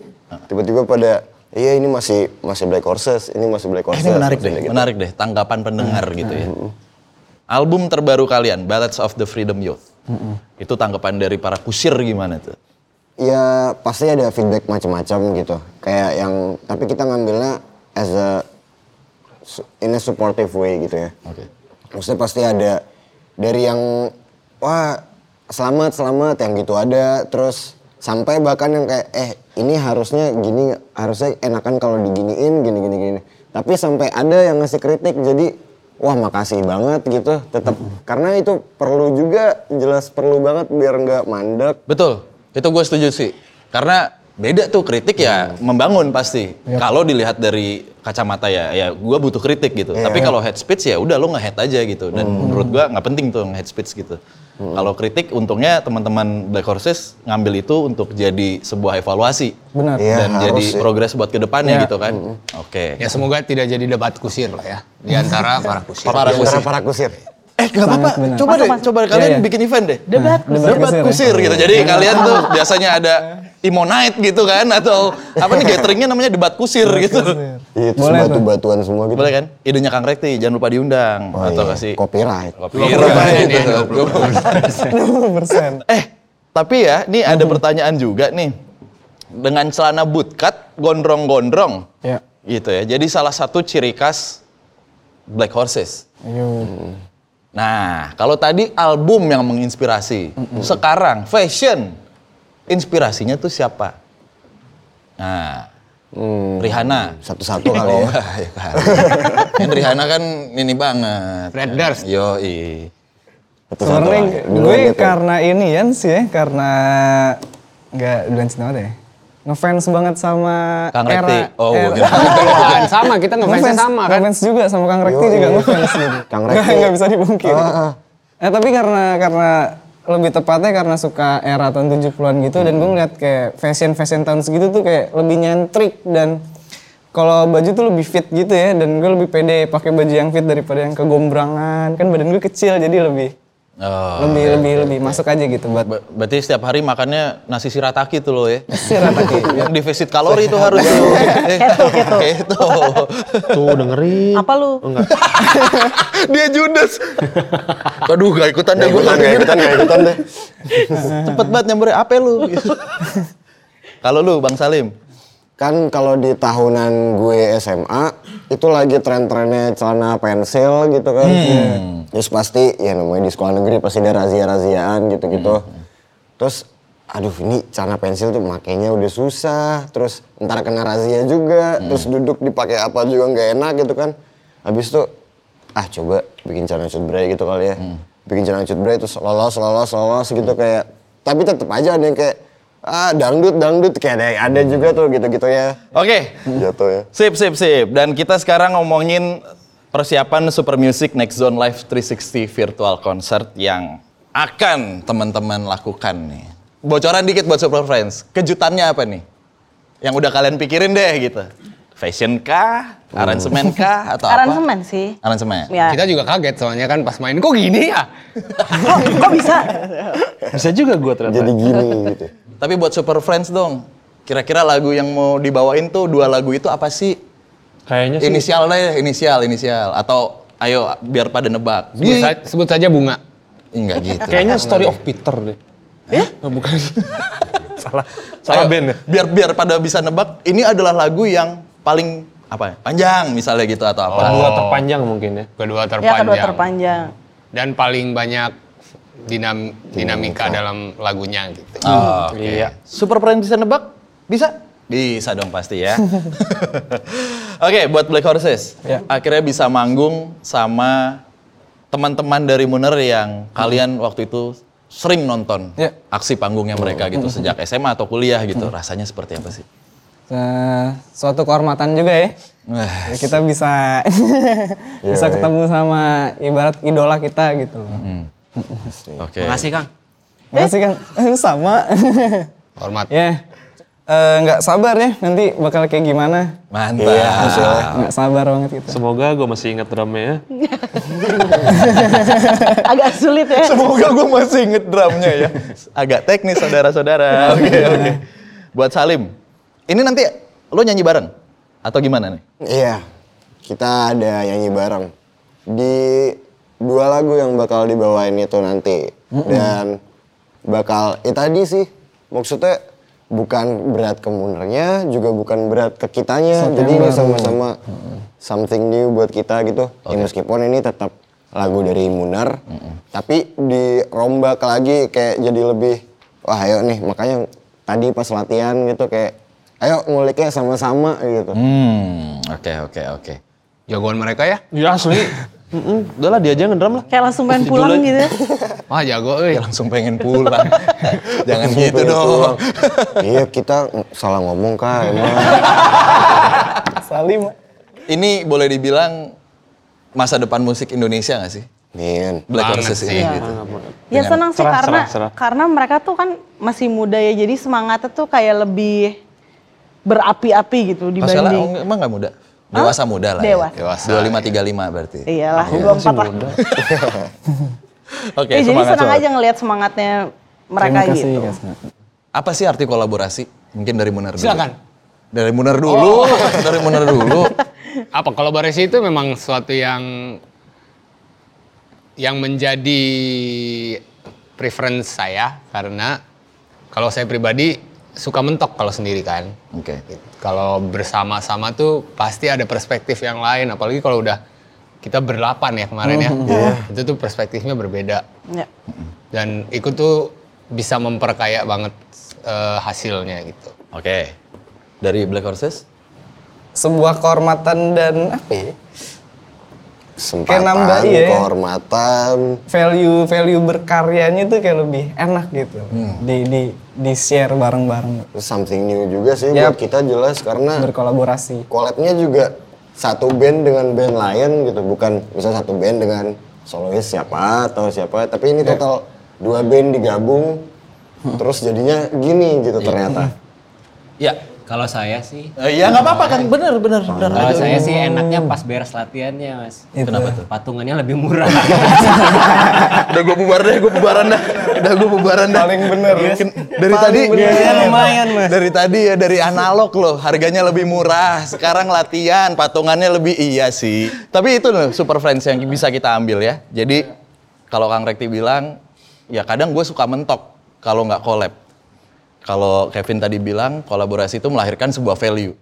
Speaker 6: tiba-tiba pada iya ini masih masih black horses, ini masih black
Speaker 1: Eh,
Speaker 6: horses.
Speaker 1: ini menarik deh,
Speaker 6: Maksudnya gitu.
Speaker 1: menarik deh tanggapan pendengar gitu ya. Album terbaru kalian, Ballads of the Freedom Youth. Itu tanggapan dari para kusir gimana tuh?
Speaker 6: Ya pasti ada feedback macam-macam gitu. Kayak yang tapi kita ngambilnya as a su- in a supportive way gitu ya.
Speaker 1: Oke.
Speaker 6: Maksudnya pasti ada dari yang wah selamat selamat yang gitu ada terus sampai bahkan yang kayak eh ini harusnya gini harusnya enakan kalau diginiin gini gini gini tapi sampai ada yang ngasih kritik jadi wah makasih banget gitu tetap karena itu perlu juga jelas perlu banget biar nggak mandek
Speaker 1: Betul, itu gue setuju sih. Karena beda tuh kritik ya
Speaker 7: Hmm.
Speaker 1: membangun pasti.
Speaker 7: Iya.
Speaker 1: Kalau dilihat dari kacamata ya, ya gue butuh kritik gitu.
Speaker 7: Iya.
Speaker 1: Tapi kalau head speech ya udah lo nge-head aja gitu.
Speaker 7: Hmm.
Speaker 1: Dan menurut gue nggak penting tuh nge-head speech gitu. Kalau kritik untungnya teman-teman Black Horses ngambil itu untuk jadi sebuah evaluasi.
Speaker 7: Benar. Iya. Hmm.
Speaker 6: Iya,
Speaker 1: Dan
Speaker 6: harus
Speaker 1: jadi
Speaker 6: sih.
Speaker 1: progres buat kedepannya gitu kan. Oke.
Speaker 2: Ya semoga tidak jadi debat kusir lah ya di antara para kusir.
Speaker 1: Para
Speaker 6: Di antara
Speaker 1: kusir.
Speaker 6: para kusir
Speaker 1: Eh nggak apa-apa,
Speaker 7: Sangat benar.
Speaker 1: coba
Speaker 3: Masuk,
Speaker 1: deh,
Speaker 3: masuk.
Speaker 1: coba kalian
Speaker 7: Iya, iya.
Speaker 1: bikin event deh.
Speaker 3: Debat
Speaker 7: Debat
Speaker 1: Debat
Speaker 7: kusir ya?
Speaker 1: kusir gitu. Jadi kalian tuh biasanya ada Imo Night gitu kan atau apa nih gatheringnya namanya debat kusir gitu.
Speaker 6: Iya, terus
Speaker 7: Boleh tuh.
Speaker 6: batu-batuan semua gitu.
Speaker 1: Boleh kan? Idenya Kang Rekti, jangan lupa diundang
Speaker 6: Oh,
Speaker 1: atau
Speaker 6: iya.
Speaker 1: kasih
Speaker 6: Copyright.
Speaker 1: Copyright gitu.
Speaker 7: persen.
Speaker 1: Eh, tapi ya, ini ada pertanyaan juga nih. Dengan celana bootcut, gondrong-gondrong,
Speaker 7: Ya.
Speaker 1: gitu ya. Jadi salah satu ciri khas Black Horses.
Speaker 7: Ayo.
Speaker 1: Nah, kalau tadi album yang menginspirasi, sekarang fashion, inspirasinya tuh siapa? Nah, Rihanna. Oh,
Speaker 6: Hmm.
Speaker 1: iya,
Speaker 6: Satu-satu kali ya.
Speaker 1: kan Rihanna kan ini banget.
Speaker 2: Fred Durst.
Speaker 1: Yo,
Speaker 6: Satu-satu
Speaker 7: Sebenarnya
Speaker 6: kali. Dulu
Speaker 7: gue
Speaker 6: gitu.
Speaker 7: karena ini ya sih ya, karena nggak bulan cinta banget ya. Ngefans banget sama
Speaker 1: Kang
Speaker 7: era-
Speaker 1: Rekti. Oh,
Speaker 7: era-
Speaker 1: gua kira-
Speaker 2: Apaan? sama kita ngefansnya sama kan.
Speaker 7: Ngefans juga sama Kang Rekti
Speaker 6: Yoi.
Speaker 7: juga ngefans gitu.
Speaker 6: Kang
Speaker 7: Nggak-
Speaker 6: Rekti.
Speaker 7: Nggak bisa dipungkiri.
Speaker 6: Ah, ah.
Speaker 7: Eh tapi karena karena lebih tepatnya karena suka era tahun 70-an gitu dan gue ngeliat kayak fashion-fashion tahun segitu tuh kayak lebih nyentrik dan kalau baju tuh lebih fit gitu ya dan gue lebih pede pakai baju yang fit daripada yang kegombrangan kan badan gue kecil jadi lebih
Speaker 1: Oh.
Speaker 7: lebih lebih lebih masuk aja gitu buat
Speaker 1: Ber- berarti setiap hari makannya nasi shirataki tuh lo ya.
Speaker 7: Shirataki.
Speaker 1: Yang defisit kalori itu harus tuh. Eh,
Speaker 3: Keto, keto.
Speaker 1: Keto.
Speaker 4: Tuh dengerin.
Speaker 3: Apa lu?
Speaker 1: Dia judes. Aduh, gak ikutan
Speaker 6: Nggak
Speaker 1: deh gue
Speaker 6: ikutan, nggak ikutan, nggak ikutan deh.
Speaker 1: Cepet banget nyamperin apa lu? Gitu. Kalau lu Bang Salim,
Speaker 6: Kan kalau di tahunan gue SMA itu lagi tren-trennya celana pensil gitu kan. Terus pasti ya namanya di sekolah negeri pasti ada razia-raziaan gitu-gitu. Terus aduh ini celana pensil tuh makainya udah susah, terus ntar kena razia juga, terus duduk dipakai apa juga nggak enak gitu kan. Habis itu ah coba bikin celana cutbray gitu kali ya. Bikin celana cutbray terus lolos lolos lolos gitu kayak tapi tetap aja ada yang kayak ah dangdut dangdut kayak ada, ada juga tuh gitu-gitu ya.
Speaker 1: oke.
Speaker 6: Jatuh ya.
Speaker 1: Sip, sip, sip. Dan kita sekarang ngomongin persiapan Super Music Next Zone Live 360 Virtual Concert yang akan teman-teman lakukan nih. Bocoran dikit buat Super Friends. Kejutannya apa nih? Yang udah kalian pikirin deh gitu. Fashion kah? Aransemen kah? Atau apa?
Speaker 3: Aransemen sih.
Speaker 1: Aransemen.
Speaker 3: Ya.
Speaker 2: Kita juga kaget soalnya kan pas main kok gini ya?
Speaker 3: Kok, kok bisa?
Speaker 4: Bisa juga gue ternyata.
Speaker 6: Jadi gini gitu.
Speaker 1: Tapi buat Super Friends dong. Kira-kira lagu yang mau dibawain tuh dua lagu itu apa sih?
Speaker 4: Kayaknya Ya sih.
Speaker 1: Inisial deh, inisial, inisial. Atau ayo biar pada nebak.
Speaker 2: Sebut, sa- sebut saja bunga.
Speaker 1: Enggak gitu.
Speaker 4: Kayaknya Story of Peter deh. Eh? bukan. salah.
Speaker 1: Ayo,
Speaker 4: Salah band ya.
Speaker 1: Biar biar pada bisa nebak ini adalah lagu yang paling apa ya? Panjang misalnya gitu atau apa.
Speaker 4: Kedua terpanjang mungkin ya.
Speaker 3: Ya
Speaker 2: Kedua terpanjang.
Speaker 3: kedua terpanjang.
Speaker 2: Dan paling banyak dinam- dinamika dalam lagunya gitu.
Speaker 1: Oh, oke.
Speaker 4: Iya.
Speaker 1: Super Friends bisa nebak? Bisa? Bisa dong pasti ya. Oke, buat Black Horses.
Speaker 7: Ya.
Speaker 1: Akhirnya bisa manggung sama teman-teman dari Muner yang kalian waktu itu sering nonton
Speaker 7: Ya.
Speaker 1: aksi panggungnya mereka gitu sejak SMA atau kuliah gitu. Rasanya seperti apa sih?
Speaker 7: eh, suatu kehormatan juga ya.
Speaker 1: Wah,
Speaker 7: Ya, kita bisa bisa ketemu sama ibarat idola kita gitu.
Speaker 1: Oke.
Speaker 5: Makasih Kang.
Speaker 7: Makasih Kang. kan? Eh, sama.
Speaker 2: Hormat.
Speaker 7: ya. Eh, nggak sabar ya nanti bakal kayak gimana.
Speaker 1: Mantap.
Speaker 7: Nggak sabar banget gitu.
Speaker 4: Semoga gue masih ingat drumnya ya.
Speaker 3: Agak sulit ya.
Speaker 1: Semoga gue masih inget drumnya ya. Agak teknis saudara-saudara. Oke oke. Buat Salim, ini nanti lo nyanyi bareng atau gimana nih?
Speaker 6: Iya, kita ada nyanyi bareng di dua lagu yang bakal dibawain itu nanti dan bakal eh tadi sih maksudnya bukan berat ke munernya juga bukan berat ke kitanya jadi ini sama-sama something new buat kita gitu Ya, meskipun ini tetap lagu dari Munar tapi dirombak lagi kayak jadi lebih wah ayo nih makanya tadi pas latihan gitu kayak ayo nguliknya sama-sama gitu
Speaker 1: Hmm, oke oke oke.
Speaker 2: Jagoan mereka ya?
Speaker 4: Ya asli. Mm-mm, Udah lah dia aja ngedrum lah.
Speaker 3: Kayak langsung pengen pulang gitu ya.
Speaker 2: Wah jago eh. euy.
Speaker 1: Ya langsung pengen pulang. Jangan gitu
Speaker 6: Pengen
Speaker 1: dong.
Speaker 6: pulang. iya kita salah ngomong kak emang.
Speaker 7: Salim.
Speaker 1: Ini boleh dibilang masa depan musik Indonesia nggak sih?
Speaker 6: Min.
Speaker 1: Black
Speaker 2: Banget
Speaker 1: Horses ini
Speaker 2: sih.
Speaker 1: gitu.
Speaker 3: Ya senang sih
Speaker 4: Serah,
Speaker 3: karena
Speaker 4: serah, serah.
Speaker 3: karena mereka tuh kan masih muda ya jadi semangatnya tuh kayak lebih berapi-api gitu
Speaker 1: Masalah
Speaker 3: dibanding
Speaker 1: emang nggak muda? Dewasa muda lah
Speaker 3: Dewasa. Iya.
Speaker 1: ya. 25-35 berarti.
Speaker 3: Iyalah, 24 lah.
Speaker 1: Oke,
Speaker 3: Eh, jadi
Speaker 1: Ya, semangat
Speaker 3: senang
Speaker 1: sobat.
Speaker 3: aja ngelihat semangatnya mereka
Speaker 7: Terima kasih,
Speaker 3: gitu.
Speaker 7: Kak Sena.
Speaker 1: Apa sih arti kolaborasi? Mungkin dari Munar dulu.
Speaker 2: Silakan.
Speaker 1: Dari Munar dulu, dari Munar dulu.
Speaker 2: apa kolaborasi itu memang sesuatu yang yang menjadi preference saya karena kalau saya pribadi suka mentok kalau sendiri kan
Speaker 1: Oke.
Speaker 2: kalau bersama-sama tuh pasti ada perspektif yang lain apalagi kalau udah kita berlapan ya kemarin ya itu tuh perspektifnya berbeda
Speaker 3: Ya.
Speaker 2: dan itu tuh bisa memperkaya banget eh, hasilnya gitu
Speaker 1: Oke. Dari Black Horses?
Speaker 7: Sebuah kehormatan dan apa ya?
Speaker 6: Kesempatan,
Speaker 7: nambah, iya.
Speaker 6: kehormatan.
Speaker 7: Value value berkaryanya tuh kayak lebih enak gitu. Di di di share bareng-bareng
Speaker 6: Terus something new juga sih buat
Speaker 7: Yap.
Speaker 6: kita jelas karena
Speaker 7: berkolaborasi.
Speaker 6: collabnya juga satu band dengan band lain gitu bukan misalnya satu band dengan solois siapa atau siapa tapi ini total dua band digabung terus jadinya gini gitu ternyata
Speaker 5: Ya, kalau saya sih
Speaker 1: Eh, ya nggak apa-apa kan, bener, bener, bener.
Speaker 5: kalau saya sih enaknya pas beres latihannya, Mas. Kenapa tuh? Patungannya lebih murah.
Speaker 1: Udah gue bubar deh, gue bubaran dah. Udah gue bubaran dah. Paling bener. Dari tadi, Iya,
Speaker 5: Biasanya lumayan, Mas.
Speaker 1: dari tadi ya, dari analog loh, harganya lebih murah. Sekarang latihan, patungannya lebih iya sih. Tapi itu loh, super friends yang bisa kita ambil ya. Jadi, kalau Kang Rekti bilang, ya kadang gue suka mentok kalau nggak collab. Kalau Kevin tadi bilang, kolaborasi itu melahirkan sebuah value.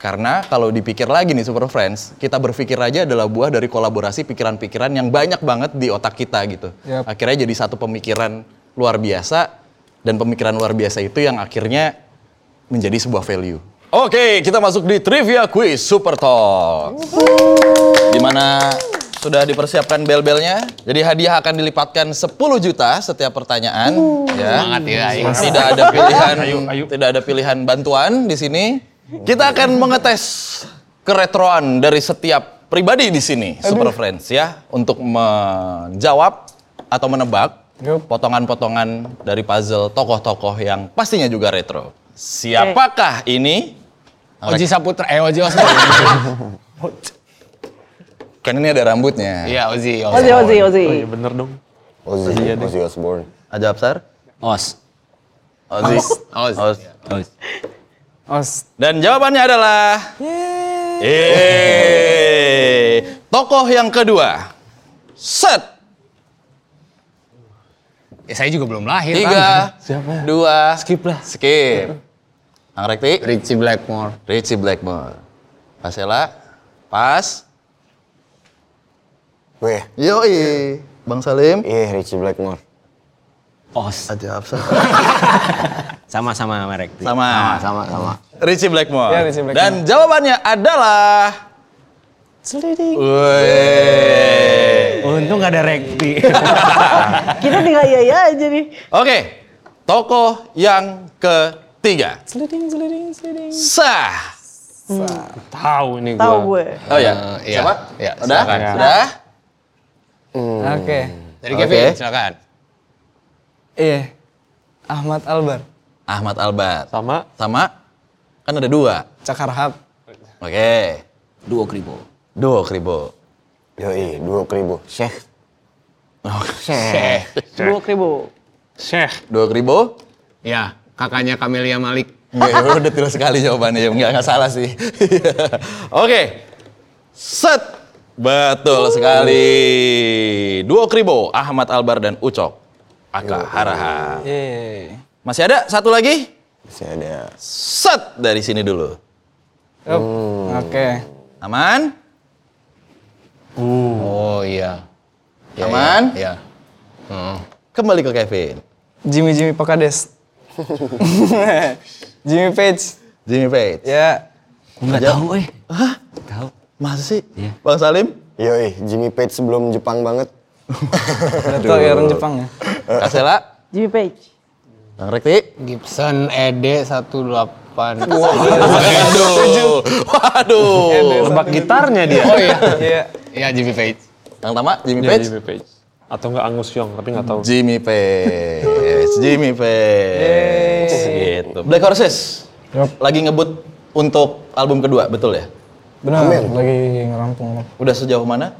Speaker 1: Karena kalau dipikir lagi nih Super Friends, kita berpikir aja adalah buah dari kolaborasi pikiran-pikiran yang banyak banget di otak kita gitu.
Speaker 7: Yap.
Speaker 1: Akhirnya jadi satu pemikiran luar biasa dan pemikiran luar biasa itu yang akhirnya menjadi sebuah value. Oke, kita masuk di trivia quiz Super Talk. Di mana sudah dipersiapkan bel-belnya. Jadi hadiah akan dilipatkan 10 juta setiap pertanyaan ya
Speaker 2: semangat ya Aing.
Speaker 1: tidak ada pilihan tidak ada pilihan bantuan di sini. Kita akan mengetes keretroan dari setiap pribadi di sini, Super Friends ya, untuk menjawab atau menebak
Speaker 7: Yup.
Speaker 1: potongan-potongan dari puzzle tokoh-tokoh yang pastinya juga retro. Siapakah ini?
Speaker 2: Oji Saputra eh Oji Osborn
Speaker 1: Kan ini ada rambutnya.
Speaker 2: Iya, Ozi. Ozi.
Speaker 3: Ozi, Ozi, Ozi.
Speaker 4: Oh iya bener dong.
Speaker 6: Ozzy Ozzy Osbourne
Speaker 1: Ada Absar?
Speaker 5: Os.
Speaker 1: Ozzy.
Speaker 2: Oz.
Speaker 1: Oz.
Speaker 5: Os.
Speaker 7: Os
Speaker 1: Dan jawabannya adalah Eh, tokoh yang kedua. Set.
Speaker 2: Ya, saya juga belum lahir.
Speaker 1: Tiga, dua,
Speaker 4: Skip lah.
Speaker 1: skip. Kang Rekti,
Speaker 2: Richie Blackmore.
Speaker 1: Richie Blackmore. Pasela, pas.
Speaker 6: weh
Speaker 1: Yoi, Bang Salim.
Speaker 6: iya Richie Blackmore
Speaker 5: Os.
Speaker 1: Ada apa?
Speaker 5: Sama-sama merek.
Speaker 1: Sama.
Speaker 6: sama sama
Speaker 1: Richie Blackmore.
Speaker 7: Ya, Richie Blackmore.
Speaker 1: Dan jawabannya adalah...
Speaker 7: Selidik.
Speaker 1: Wih.
Speaker 5: Untung gak ada rekti.
Speaker 3: Kita tinggal iya iya aja nih.
Speaker 1: Oke, tokoh yang ketiga.
Speaker 7: Seliding, seliding, seliding.
Speaker 1: Sah.
Speaker 4: Tahu ini gue.
Speaker 3: Tahu gue.
Speaker 1: Oh ya,
Speaker 2: Eh, iya.
Speaker 1: siapa?
Speaker 2: Iya,
Speaker 1: Udah?
Speaker 2: silakan.
Speaker 1: Sudah?
Speaker 6: Hmm.
Speaker 7: Oke.
Speaker 2: Dari
Speaker 1: Oke.
Speaker 2: Kevin, silakan.
Speaker 7: Iya. Ahmad Albar,
Speaker 1: Ahmad Albar.
Speaker 4: Sama.
Speaker 1: Sama? Kan ada dua.
Speaker 7: Cakarhab,
Speaker 1: Oke.
Speaker 5: Duo kribo.
Speaker 1: Duo Kribo.
Speaker 6: yoi dua kribo Syekh
Speaker 2: Eh,
Speaker 3: Dua kribo.
Speaker 4: Syekh.
Speaker 1: Duo Kribo?
Speaker 2: ya, kakaknya Kamelia Malik.
Speaker 1: Iya, udah tiru sekali jawabannya. Ya, Nggak, nggak salah sih. Oke. Set. Betul sekali. Duo Kribo, Ahmad Albar dan Ucok. Aka Haraha.
Speaker 7: Yeay.
Speaker 1: Masih ada satu lagi?
Speaker 6: masih ada
Speaker 1: Set dari sini dulu.
Speaker 7: Yup.
Speaker 6: Hmm.
Speaker 7: Oke.
Speaker 1: Aman?
Speaker 2: Oh iya. Iya,
Speaker 1: Aman?
Speaker 2: Iya. iya. Heeh.
Speaker 1: Kembali ke Kevin.
Speaker 7: Jimmy Jimmy Pakades. Jimmy Page.
Speaker 1: Jimmy Page.
Speaker 7: Ya.
Speaker 5: Enggak tahu eh.
Speaker 1: Masa sih? Bang Salim?
Speaker 6: yoi Jimmy Page sebelum Jepang banget
Speaker 7: Betul ya orang Jepang ya.
Speaker 1: Kasela?
Speaker 3: Jimmy Page.
Speaker 1: Bang Rekti?
Speaker 2: Gibson ED 18. iya.
Speaker 1: Waduh. Waduh.
Speaker 4: Tebak gitarnya dia.
Speaker 2: Oh iya.
Speaker 7: Iya.
Speaker 2: Iya, Jimmy Page.
Speaker 1: Yang pertama Jimmy
Speaker 4: Iya,
Speaker 1: Page.
Speaker 4: Jimmy Page. Atau enggak Angus Young, tapi enggak tahu.
Speaker 1: Jimmy Page, Jimmy Page, gitu. Black Horses, lagi ngebut untuk album kedua, betul ya?
Speaker 7: Benar,
Speaker 6: Amin.
Speaker 7: lagi ngerampung.
Speaker 1: Udah sejauh mana?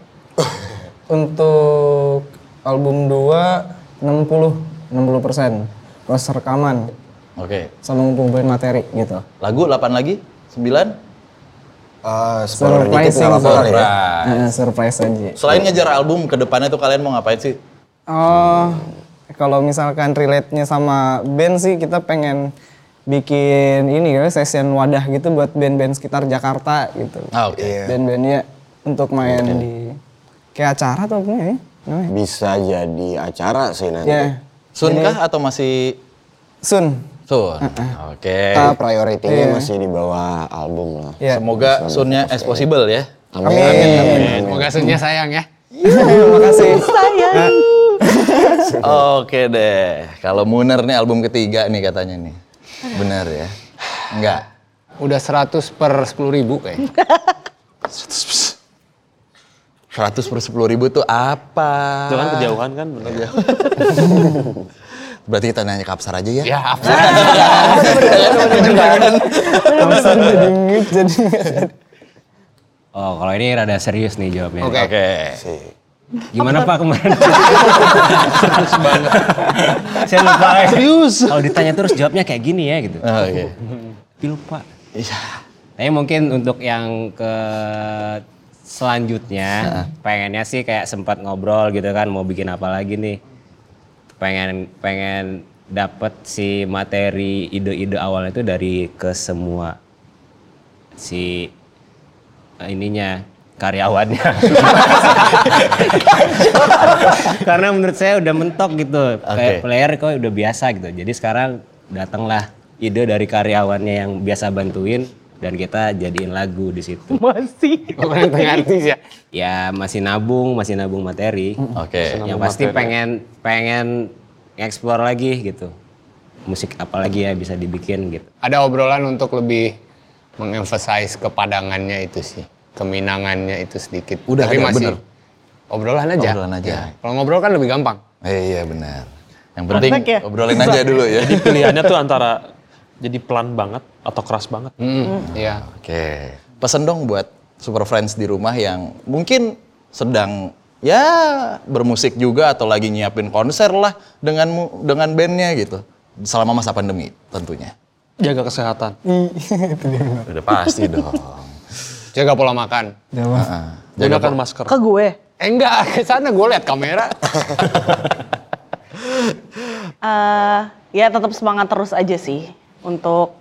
Speaker 7: Untuk album 2, 60, 60 persen. Proses rekaman
Speaker 1: Oke.
Speaker 7: sama ngumpulin materi gitu.
Speaker 1: Lagu 8 lagi? 9?
Speaker 6: Eh, spoiler dikit
Speaker 7: Surprising
Speaker 6: nggak apa-apa kali ya.
Speaker 1: Surprise.
Speaker 7: Eh, surprise aja.
Speaker 1: Selain ngejar album, ke depannya tuh kalian mau ngapain sih?
Speaker 7: Oh, kalau misalkan relate-nya sama band sih kita pengen bikin ini ya, session wadah gitu buat band-band sekitar Jakarta gitu.
Speaker 1: Ah, oke.
Speaker 6: Iya.
Speaker 7: Band-bandnya untuk main di kayak acara atau apa ya? namanya?
Speaker 6: Bisa jadi acara sih nanti.
Speaker 7: Ya,
Speaker 1: Sun kah atau masih
Speaker 7: Sun.
Speaker 1: Sun? Oke.
Speaker 6: Kita priority-nya masih di bawah album lah.
Speaker 7: Ya.
Speaker 1: Semoga Sunnya as possible ya.
Speaker 6: Amin. Amin.
Speaker 2: Semoga sunnya sayang ya.
Speaker 7: Terima kasih.
Speaker 3: Sayang.
Speaker 1: Oke deh. Kalau Muner nih album ketiga nih katanya nih. Benar ya? Enggak.
Speaker 2: Udah 100 per 10 ribu kayaknya.
Speaker 1: 100 per 10 ribu tuh apa?
Speaker 4: Jangan kejauhan kan bener.
Speaker 1: Berarti kita nanya ke Apsar aja ya. kan?
Speaker 2: ya, apa?
Speaker 7: Langsung jadi mute, jadi
Speaker 5: Oh, kalau ini rada serius nih jawabnya.
Speaker 2: Oke.
Speaker 1: Oke.
Speaker 5: Gimana Pak kemarin? Saya lupa. Serius. Kalau ditanya terus jawabnya kayak gini ya gitu.
Speaker 1: Ah, Oke.
Speaker 5: Tapi lupa. Tapi mungkin untuk yang ke selanjutnya pengennya sih kayak sempat ngobrol gitu kan mau bikin apa lagi nih. Pengen pengen dapat si materi ide-ide awalnya itu dari ke semua si eh, ininya karyawannya. Karena menurut saya udah mentok gitu. Kayak
Speaker 1: Oke.
Speaker 5: player kok udah biasa gitu. Jadi sekarang datanglah ide dari karyawannya yang biasa bantuin dan kita jadiin lagu di situ.
Speaker 3: Masih.
Speaker 2: Bukan tengah artis ya.
Speaker 5: Ya masih nabung, masih nabung materi.
Speaker 1: Oke.
Speaker 5: Yang pasti pengen pengen explore lagi gitu. Musik apa lagi ya bisa dibikin gitu.
Speaker 2: Ada obrolan untuk lebih mengemphasize kepadangannya itu sih. Keminangannya itu sedikit.
Speaker 1: Udah
Speaker 2: Tapi
Speaker 1: ada,
Speaker 2: masih
Speaker 1: bener.
Speaker 2: obrolan aja.
Speaker 1: Obrolan aja.
Speaker 2: Ya. Kalau ngobrol kan lebih gampang.
Speaker 1: Eh, iya benar. Yang penting
Speaker 3: Praktek ya?
Speaker 1: obrolin aja dulu ya.
Speaker 4: Jadi pilihannya tuh antara jadi pelan banget atau keras banget.
Speaker 2: Hmm, Iya.
Speaker 1: Oke. Pesen dong buat super friends di rumah yang mungkin sedang ya bermusik juga atau lagi nyiapin konser lah dengan mu- dengan bandnya gitu selama masa pandemi tentunya.
Speaker 4: Jaga kesehatan.
Speaker 1: Udah pasti dong.
Speaker 2: Jaga pola makan.
Speaker 7: Jawab.
Speaker 1: Ah, Jaga
Speaker 4: Gunakan masker.
Speaker 3: Ke gue.
Speaker 2: Eh enggak, ke sana gue lihat kamera.
Speaker 3: Eh, ya tetap semangat terus aja sih untuk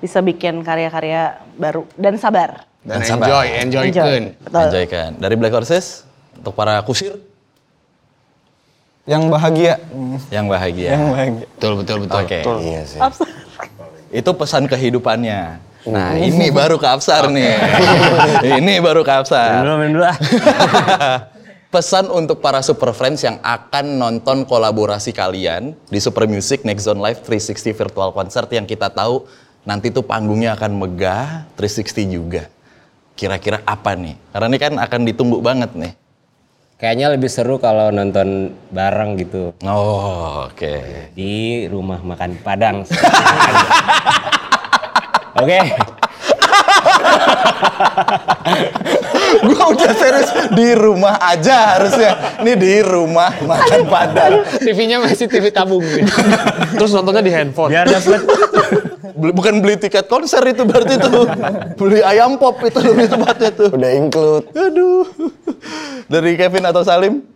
Speaker 3: bisa bikin karya-karya baru dan sabar.
Speaker 2: Dan,
Speaker 1: Dan sabar.
Speaker 2: enjoy, enjoy, kun.
Speaker 3: Betul.
Speaker 1: enjoy kan. Dari Black Horses untuk para kusir
Speaker 7: Yang
Speaker 4: Ya.
Speaker 7: bahagia.
Speaker 1: yang bahagia.
Speaker 7: Yang bahagia.
Speaker 2: Betul, betul, betul.
Speaker 1: Oke.
Speaker 6: Iya sih.
Speaker 1: Itu pesan kehidupannya. Nah, ini baru ke Absar nih. ini baru ke Absar.
Speaker 5: Minum dulu, minum dulu ah.
Speaker 1: Pesan untuk para super friends yang akan nonton kolaborasi kalian di Super Music Next Zone Live 360 Virtual Concert yang kita tahu nanti tuh panggungnya akan megah, 360 juga. Kira-kira apa nih? Karena ini kan akan ditunggu banget nih.
Speaker 5: Kayaknya lebih seru kalau nonton bareng gitu.
Speaker 1: Oh, oke.
Speaker 5: di rumah makan Padang. Oke,
Speaker 1: Gua udah serius di rumah aja harusnya. Ini di rumah makan padang.
Speaker 2: TV-nya masih TV tabung.
Speaker 4: Terus nontonnya di handphone.
Speaker 5: biar dapat
Speaker 1: Beli- Bukan beli tiket konser itu berarti tuh. Beli ayam pop itu lebih tepatnya tuh.
Speaker 6: Udah include.
Speaker 1: Aduh. Dari Kevin atau Salim?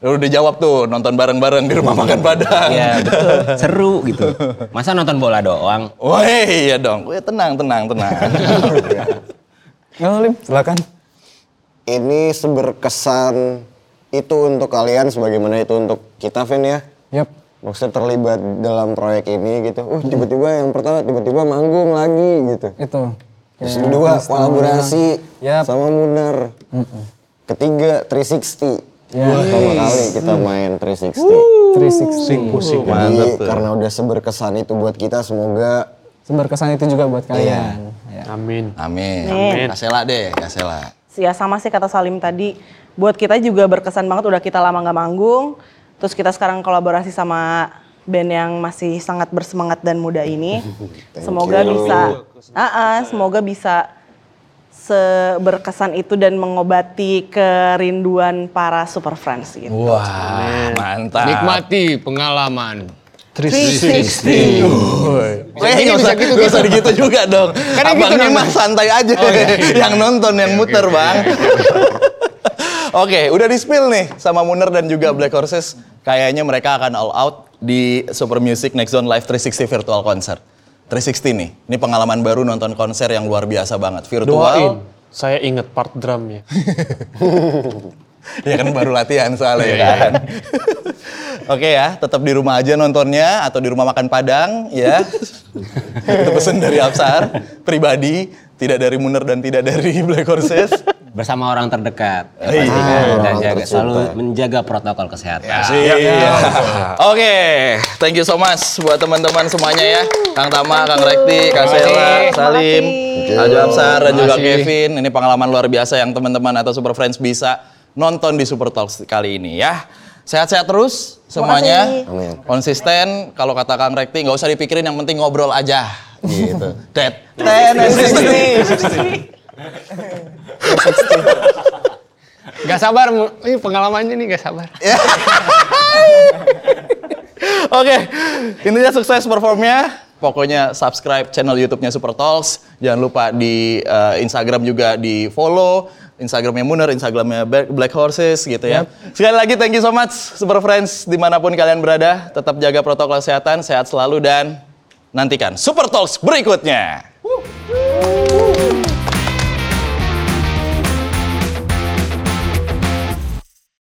Speaker 1: Lu udah jawab tuh, nonton bareng-bareng di rumah makan Padang.
Speaker 5: ya betul seru gitu. Masa nonton bola doang?
Speaker 1: Wah, iya dong. Weh, tenang, tenang, tenang.
Speaker 7: Nggak, Lim, silakan.
Speaker 6: Ini seberkesan itu untuk kalian sebagaimana itu untuk kita Vin ya.
Speaker 7: Yap.
Speaker 6: Maksudnya terlibat dalam proyek ini gitu. Uh tiba-tiba yang pertama tiba-tiba manggung lagi gitu.
Speaker 7: Itu.
Speaker 6: Terus kedua kolaborasi
Speaker 7: Iya. Yap.
Speaker 6: sama Munar. Ketiga 360. Pertama kali kita main 360.
Speaker 7: 360.
Speaker 6: Jadi karena udah seberkesan itu buat kita semoga
Speaker 7: Seberkesan itu juga buat
Speaker 1: Iya.
Speaker 7: kalian. Ya.
Speaker 4: Amin.
Speaker 1: Amin.
Speaker 3: Amin.
Speaker 1: Kasela deh, Kasela.
Speaker 3: Ya sama sih kata Salim tadi. Buat kita juga berkesan banget udah kita lama nggak manggung. Terus kita sekarang kolaborasi sama band yang masih sangat bersemangat dan muda ini. semoga bisa, ah ah, semoga bisa seberkesan itu dan mengobati kerinduan para super friends gitu.
Speaker 1: Wah, mantap.
Speaker 2: Nikmati pengalaman.
Speaker 3: 360.
Speaker 1: Eh, ini bisa gitu, gak usah gitu juga dong.
Speaker 2: Kan yang gitu
Speaker 1: Abangnya
Speaker 2: namanya.
Speaker 1: mah Oh, iya, santai aja. yang nonton, yang muter, Bang. Oke, udah di-spill nih sama Muner dan juga Black Horses. Kayaknya mereka akan all out di Super Music Next Zone Live 360 Virtual Concert. 360 nih, ini pengalaman baru nonton konser yang luar biasa banget. Virtual,
Speaker 4: Doain. Saya inget part drumnya.
Speaker 1: ya kan baru latihan soalnya ya kan. Oke ya, tetap di rumah aja nontonnya atau di rumah makan Padang ya. Itu pesan dari Absar pribadi, tidak dari Muner dan tidak dari Black Horses.
Speaker 5: bersama orang terdekat.
Speaker 1: Oh, iya.
Speaker 5: Pastikan kita
Speaker 6: Orang
Speaker 5: jaga,
Speaker 6: tercinta.
Speaker 5: selalu menjaga protokol kesehatan.
Speaker 1: Iya. Oke, thank you so much buat teman-teman semuanya ya. Kang Tama, Kang Rekti, Kang Sela, Salim, Ajo Absar dan juga Kevin. Ini pengalaman luar biasa yang teman-teman atau Super Friends bisa nonton di Super Talks kali ini ya. Sehat-sehat terus semuanya.
Speaker 3: kasih.
Speaker 6: Amin.
Speaker 1: Konsisten kalau kata Kang Rekti nggak usah dipikirin yang penting ngobrol aja gitu. Dead. Ten
Speaker 2: Gak sabar, mu- ini pengalamannya nih gak sabar.
Speaker 1: Oke, intinya sukses performnya. Pokoknya subscribe channel YouTube-nya Super Talks. Jangan lupa di eh, Instagram juga di follow. Instagramnya Muner, Instagramnya Ba- Black Horses gitu ya. Sekali lagi thank you so much Super Friends dimanapun kalian berada. Tetap jaga protokol kesehatan, sehat selalu dan nantikan Super Talks berikutnya.